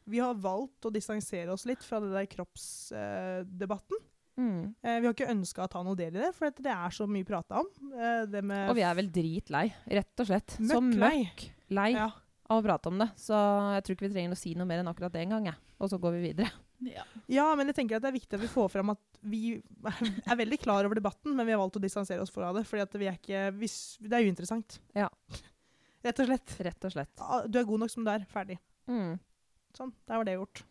[SPEAKER 2] vi har valgt å distansere oss litt fra det der kroppsdebatten. Eh,
[SPEAKER 1] Mm.
[SPEAKER 2] vi har ikke ønska å ta noe del i det, for at det er så mye prata om. Eh, det med
[SPEAKER 1] Og vi er vel dritlei, rett og slett. Så
[SPEAKER 2] Møkk lei.
[SPEAKER 1] møkk lei
[SPEAKER 2] Ja.
[SPEAKER 1] av å prate om det. Så jeg tror ikke vi trenger å si noe mer enn akkurat det engang. jeg. Og så går vi videre.
[SPEAKER 3] Ja.
[SPEAKER 2] Ja, men jeg tenker at det er viktig at vi får fram at vi *laughs* er veldig klar over debatten, men vi har valgt å distansere oss fra det, fordi at vi er ikke vi, s- Det er uinteressant.
[SPEAKER 1] Ja.
[SPEAKER 2] *laughs* Rett og slett.
[SPEAKER 1] Rett og slett.
[SPEAKER 2] Ah, Du er god nok som du er. Ferdig.
[SPEAKER 1] Mm.
[SPEAKER 2] Sånn. Der var det gjort.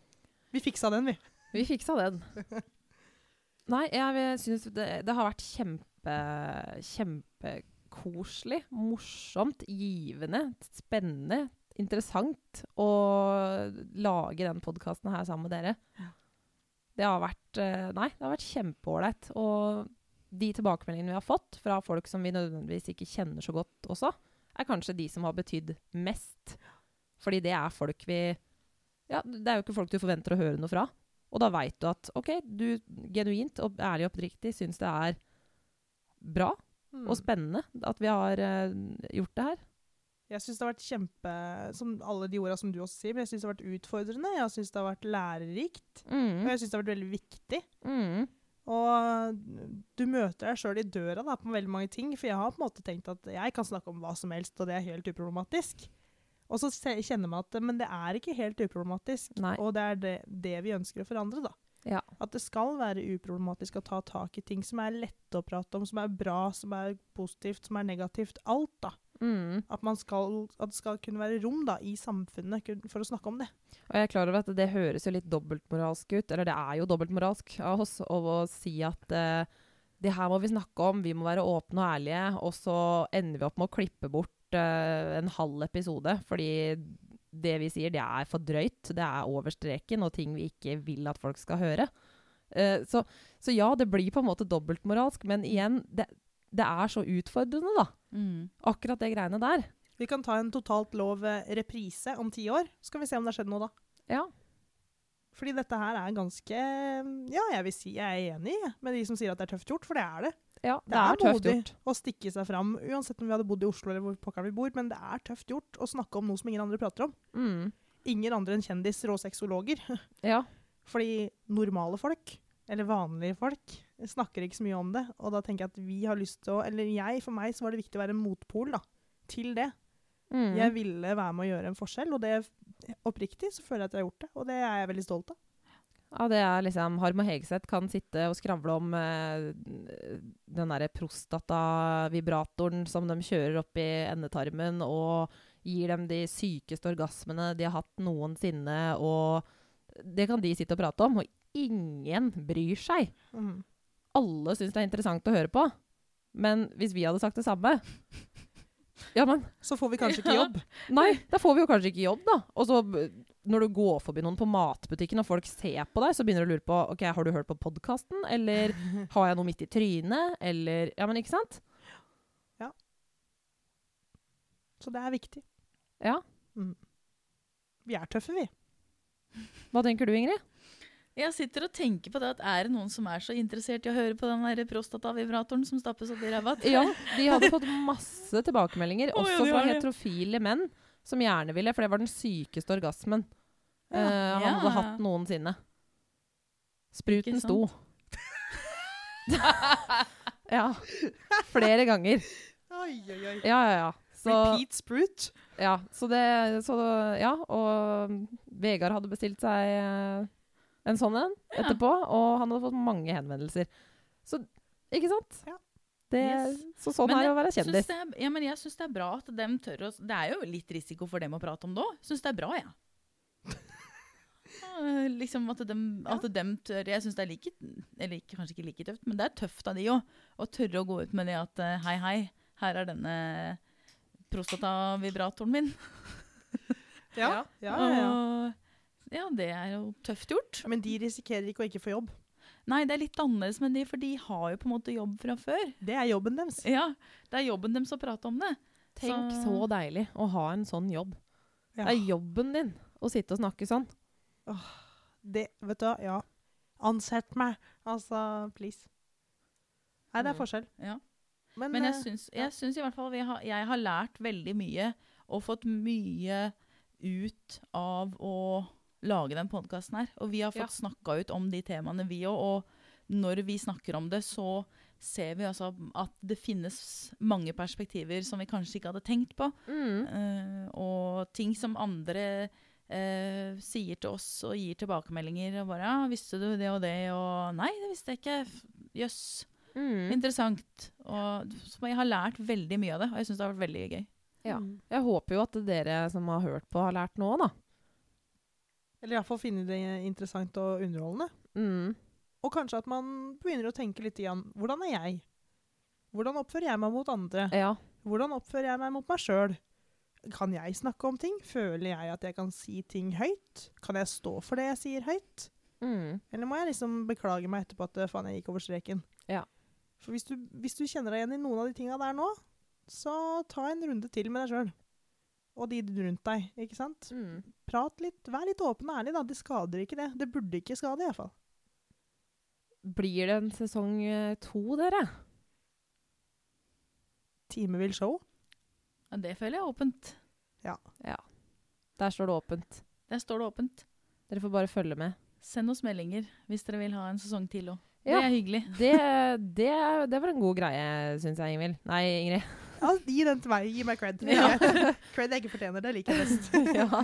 [SPEAKER 2] Vi fiksa den, vi.
[SPEAKER 1] Vi fiksa den. Nei, jeg syns det, det har vært kjempe kjempekoselig, morsomt, givende, spennende, interessant å lage den podkasten her sammen med dere. Det har vært eh, Nei, det har vært kjempeålreit. Og de tilbakemeldingene vi har fått fra folk som vi nødvendigvis ikke kjenner så godt også, er kanskje de som har betydd mest. Fordi det er folk vi Ja, det er jo ikke folk du forventer å høre noe fra. Og da veit du at OK, du genuint og ærlig og oppriktig syns det er bra
[SPEAKER 2] Mm.
[SPEAKER 1] og spennende at vi har eh, gjort det her.
[SPEAKER 2] Jeg syns det har vært kjempe Som alle de orda som du også sier, men jeg syns det har vært utfordrende. Jeg syns det har vært lærerikt. Og
[SPEAKER 1] Mm.
[SPEAKER 2] jeg syns det har vært veldig viktig.
[SPEAKER 1] Mm.
[SPEAKER 2] Og du møter deg sjøl i døra da, på veldig mange ting, for jeg har på en måte tenkt at jeg kan snakke om hva som helst, og det er helt uproblematisk. Og så se- kjenner man at men det er ikke helt uproblematisk,
[SPEAKER 1] Nei.
[SPEAKER 2] og det er det, det vi ønsker å forandre. da.
[SPEAKER 1] Ja.
[SPEAKER 2] At det skal være uproblematisk å ta tak i ting som er lette å prate om, som er bra, som er positivt, som er negativt. Alt, da.
[SPEAKER 1] Mm.
[SPEAKER 2] At, man skal, at det skal kunne være rom da, i samfunnet kun- for å snakke om det.
[SPEAKER 1] Og jeg er klar over at det høres jo litt dobbeltmoralsk ut, eller det er jo dobbeltmoralsk av oss, å å si at eh, det her må vi snakke om, vi må være åpne og ærlige, og så ender vi opp med å klippe bort eh, en halv episode, fordi det vi sier, det er for drøyt, det er over streken, og ting vi ikke vil at folk skal høre. Eh, så, så ja, det blir på en måte dobbeltmoralsk, men igjen, det, det er så utfordrende, da.
[SPEAKER 3] Mm.
[SPEAKER 1] Akkurat det greiene der.
[SPEAKER 2] Vi kan ta en totalt lov eh, reprise om ti år, så skal vi se om det har skjedd noe da.
[SPEAKER 1] Ja.
[SPEAKER 2] Fordi dette her er ganske Ja, jeg vil si jeg er enig jeg, med de som sier at det er tøft gjort, for det er det.
[SPEAKER 1] Ja, det,
[SPEAKER 2] Det er
[SPEAKER 1] er, tøft
[SPEAKER 2] modig.
[SPEAKER 1] gjort.
[SPEAKER 2] Å stikke seg fram, uansett om vi hadde bodd i Oslo eller hvor pokker vi bor, men det er tøft gjort å snakke om noe som ingen andre prater om.
[SPEAKER 1] Mm.
[SPEAKER 2] Ingen andre enn kjendiser og sexologer.
[SPEAKER 1] Ja.
[SPEAKER 2] Fordi normale folk, eller vanlige folk, snakker ikke så mye om det. Og da tenker jeg at vi har lyst til å Eller jeg, for meg så var det viktig å være en motpol da, til det.
[SPEAKER 1] Mm.
[SPEAKER 2] Jeg ville være med å gjøre en forskjell, og det oppriktig så føler jeg at jeg har gjort det. Og det er jeg veldig stolt av.
[SPEAKER 1] Ja, det er liksom Harm og Hegseth kan sitte og skravle om eh, den derre prostatavibratoren som de kjører opp i endetarmen, og gir dem de sykeste orgasmene de har hatt noensinne, og det kan de sitte og prate om, og ingen bryr seg.
[SPEAKER 2] Mhm.
[SPEAKER 1] Alle syns det er interessant å høre på. Men hvis vi hadde sagt det samme Ja, men
[SPEAKER 2] Så får vi kanskje ikke
[SPEAKER 3] Ja.
[SPEAKER 2] jobb.
[SPEAKER 1] Nei, da får vi jo kanskje ikke jobb, da. Og så b- når du går forbi noen på matbutikken og folk ser på deg, så begynner du å lure på ok, har du hørt på podkasten,
[SPEAKER 3] *laughs*
[SPEAKER 1] eller har jeg noe midt i trynet, eller Ja, men ikke sant?
[SPEAKER 2] Så det er viktig.
[SPEAKER 1] Ja.
[SPEAKER 2] Vi er tøffe, vi.
[SPEAKER 1] Hva tenker du,
[SPEAKER 3] *laughs*
[SPEAKER 1] Ingrid?
[SPEAKER 3] Jeg sitter og tenker på det at er det noen som er så interessert i å høre på den der prostatavibratoren som stappes opp i ræva? *laughs*
[SPEAKER 1] Ja, de hadde fått masse tilbakemeldinger,
[SPEAKER 3] Å, ja,
[SPEAKER 1] også
[SPEAKER 3] de
[SPEAKER 1] fra
[SPEAKER 3] har det.
[SPEAKER 1] heterofile menn, som gjerne ville, for det var den sykeste orgasmen
[SPEAKER 2] Ja.
[SPEAKER 1] eh, han hadde
[SPEAKER 3] Ja.
[SPEAKER 1] hatt noensinne. Spruten
[SPEAKER 3] Ikke
[SPEAKER 1] sto. ja. Flere ganger.
[SPEAKER 2] Oi, oi, oi.
[SPEAKER 1] Ja, ja, ja. Så-
[SPEAKER 2] Repeat sprut.
[SPEAKER 1] Ja, så det så, Ja, og Vegard hadde bestilt seg eh, en sånn en
[SPEAKER 3] Ja.
[SPEAKER 1] etterpå, og han hadde fått mange henvendelser. Så ikke sant?
[SPEAKER 2] Ja.
[SPEAKER 1] Det,
[SPEAKER 3] Yes.
[SPEAKER 1] Så sånn
[SPEAKER 3] Men
[SPEAKER 1] er det å være
[SPEAKER 3] Syns
[SPEAKER 1] kjendis.
[SPEAKER 3] det er- Ja, men jeg syns det er bra at dem tør å Det er jo litt risiko for dem å prate om det òg. Syns det er
[SPEAKER 1] *laughs*
[SPEAKER 3] bra, jeg. Ja. Liksom at dem, at dem tør Jeg syns det er like Eller ikke, kanskje ikke like tøft, men det er tøft av de òg. Å tørre å gå ut med det at eh, hei, hei, her er denne prostatavibratoren min.
[SPEAKER 2] Ja. Ja, ja, ja.
[SPEAKER 3] Og- ja, det er jo tøft gjort.
[SPEAKER 2] Men de risikerer ikke å ikke få jobb.
[SPEAKER 3] Nei, det er litt annerledes med de, for de har jo på en måte jobb fra før.
[SPEAKER 2] Det er jobben deres.
[SPEAKER 3] Ja, Det er jobben deres å prate om det.
[SPEAKER 1] Tenk så deilig å ha en sånn jobb.
[SPEAKER 2] Ja.
[SPEAKER 1] Det er jobben din å sitte og snakke sånn.
[SPEAKER 2] Det, vet du hva, ja. Ansett meg. Altså, please. Nei, det
[SPEAKER 1] Mm.
[SPEAKER 2] er forskjell.
[SPEAKER 3] Ja.
[SPEAKER 2] Men,
[SPEAKER 3] Men jeg
[SPEAKER 2] eh,
[SPEAKER 3] syns,
[SPEAKER 2] ja.
[SPEAKER 3] jeg syns i hvert fall vi har, jeg har lært veldig mye og fått mye ut av å lage den podkasten her. Og vi har
[SPEAKER 1] Ja.
[SPEAKER 3] fått snakka ut om de temaene, vi òg. Og når vi snakker om det, så ser vi altså at det finnes mange perspektiver som vi kanskje ikke hadde tenkt på.
[SPEAKER 1] Mm.
[SPEAKER 3] Eh, og ting som andre eh, sier til oss og gir tilbakemeldinger. Og bare ja, 'Visste du det og det?' Og 'Nei, det visste jeg ikke'. F- Jøss.
[SPEAKER 1] Mm.
[SPEAKER 3] Interessant. Og så jeg har lært veldig mye av det, og jeg syns det har vært veldig gøy.
[SPEAKER 1] ja.
[SPEAKER 2] Mm.
[SPEAKER 1] Jeg håper jo at dere som har hørt på, har lært noe, da.
[SPEAKER 2] Eller iallfall finne det interessant og underholdende.
[SPEAKER 1] Mm.
[SPEAKER 2] Og kanskje at man begynner å tenke litt igjen. Hvordan er jeg? Hvordan oppfører jeg meg mot andre?
[SPEAKER 1] Ja.
[SPEAKER 2] Hvordan oppfører jeg meg mot meg sjøl? Kan jeg snakke om ting? Føler jeg at jeg kan si ting høyt? Kan jeg stå for det jeg sier høyt?
[SPEAKER 1] Mm.
[SPEAKER 2] Eller må jeg liksom beklage meg etterpå at faen, jeg gikk over streken?
[SPEAKER 1] Ja.
[SPEAKER 2] For hvis du, hvis du kjenner deg igjen i noen av de tinga der nå, så ta en runde til med deg sjøl. og de rundt deg. ikke sant?
[SPEAKER 1] Mm.
[SPEAKER 2] Prat litt, Vær litt åpen og ærlig. da, Det skader ikke, det. Det burde ikke skade, iallfall.
[SPEAKER 1] Blir det en sesong eh, to, dere?
[SPEAKER 2] Time will show.
[SPEAKER 3] Ja, det føler jeg er åpent.
[SPEAKER 1] Der står det åpent.
[SPEAKER 3] Der står det åpent.
[SPEAKER 1] Dere får bare følge med.
[SPEAKER 3] Send oss meldinger hvis dere vil ha en sesong til òg.
[SPEAKER 1] Ja.
[SPEAKER 3] Det er hyggelig.
[SPEAKER 1] Det, det, det var en god greie, syns jeg, Ingvild. Nei, Ingrid.
[SPEAKER 2] Ja, Gi den til meg. Gi meg cred.
[SPEAKER 1] Ja.
[SPEAKER 2] *laughs* cred jeg ikke fortjener. Det liker jeg best.
[SPEAKER 1] *laughs* ja.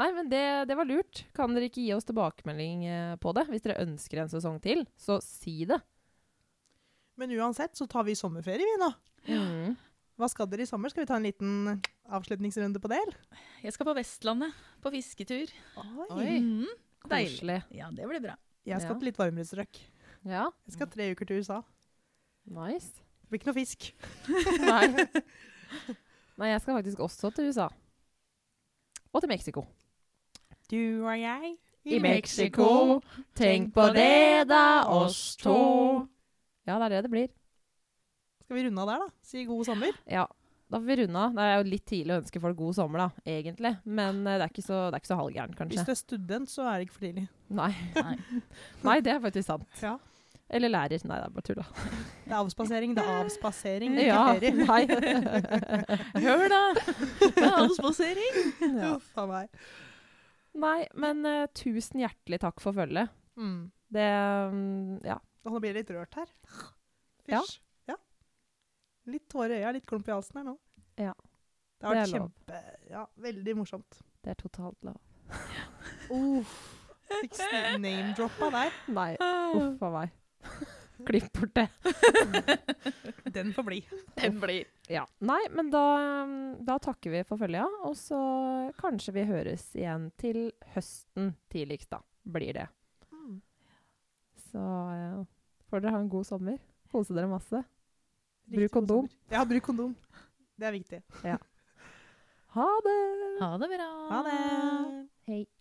[SPEAKER 1] Nei, men det, det var lurt. Kan dere ikke gi oss tilbakemelding eh, på det? Hvis dere ønsker en sesong til, så si det.
[SPEAKER 2] Men uansett så tar vi sommerferie, vi nå.
[SPEAKER 1] Mm.
[SPEAKER 2] Hva skal dere i sommer? Skal vi ta en liten avslutningsrunde på det? eller?
[SPEAKER 3] Jeg skal på Vestlandet på fisketur.
[SPEAKER 1] Oi.
[SPEAKER 3] Mhm. Deilig.
[SPEAKER 1] Koselig.
[SPEAKER 3] Ja, det blir
[SPEAKER 1] *laughs*
[SPEAKER 3] bra.
[SPEAKER 2] Jeg skal
[SPEAKER 1] Ja.
[SPEAKER 2] til litt varmere strøk.
[SPEAKER 1] Ja,
[SPEAKER 2] Jeg skal tre uker til USA.
[SPEAKER 1] nice.
[SPEAKER 2] Det blir ikke noe fisk.
[SPEAKER 1] Nei. *laughs* Nei, jeg skal faktisk også til USA. Og til Mexico.
[SPEAKER 2] Du og jeg
[SPEAKER 1] I Mexico. Tenk på det, da, oss to. Ja, det er det det blir.
[SPEAKER 2] Skal vi runde av der, da? Si god sommer.
[SPEAKER 1] Ja, da får vi runde av. Det er jo litt tidlig å ønske folk god sommer, da, egentlig. Men eh, det er ikke så, det er ikke så halvgærent,
[SPEAKER 2] Hvis
[SPEAKER 1] kanskje.
[SPEAKER 2] du er student, så er det ikke for tidlig.
[SPEAKER 1] Nei.
[SPEAKER 3] Nei.
[SPEAKER 1] Nei, det er faktisk sant.
[SPEAKER 2] Ja.
[SPEAKER 1] Eller lærer. Nei, det er bare tulla.
[SPEAKER 2] Det er avspasering, det er avspasering. Ikke
[SPEAKER 1] Ja,
[SPEAKER 2] ferie.
[SPEAKER 1] nei.
[SPEAKER 3] Hør,
[SPEAKER 1] *laughs*
[SPEAKER 3] da! Det er avspasering.
[SPEAKER 1] Ja.
[SPEAKER 2] *laughs* Uff a meg.
[SPEAKER 1] nei, men eh, tusen hjertelig takk for følget.
[SPEAKER 2] Mm.
[SPEAKER 1] Det mm, Ja.
[SPEAKER 2] Og Nå blir jeg litt rørt her.
[SPEAKER 1] Ja.
[SPEAKER 2] Fysj. ja. Litt tårer i øya, litt klump i halsen her nå.
[SPEAKER 1] Ja.
[SPEAKER 2] Det har vært
[SPEAKER 1] Det er lov.
[SPEAKER 2] kjempe... Ja, veldig morsomt.
[SPEAKER 1] Det er totalt lov.
[SPEAKER 2] Uff. Fikk sn- name-droppa der.
[SPEAKER 1] Nei, uff a meg. *laughs* Klipp bort det.
[SPEAKER 2] Den får bli.
[SPEAKER 3] Den blir.
[SPEAKER 1] Ja. Nei, men da, mm, da takker vi for følget, ja. og så kanskje vi høres igjen til høsten tidligst, da. Blir det.
[SPEAKER 2] Mm.
[SPEAKER 1] Så eh, får dere ha en god sommer. Kose dere masse. Bruk kondom.
[SPEAKER 2] Ja, bruk kondom. Det er viktig.
[SPEAKER 1] Ha det!
[SPEAKER 3] Ha det bra.
[SPEAKER 2] Ha det.
[SPEAKER 1] Hei.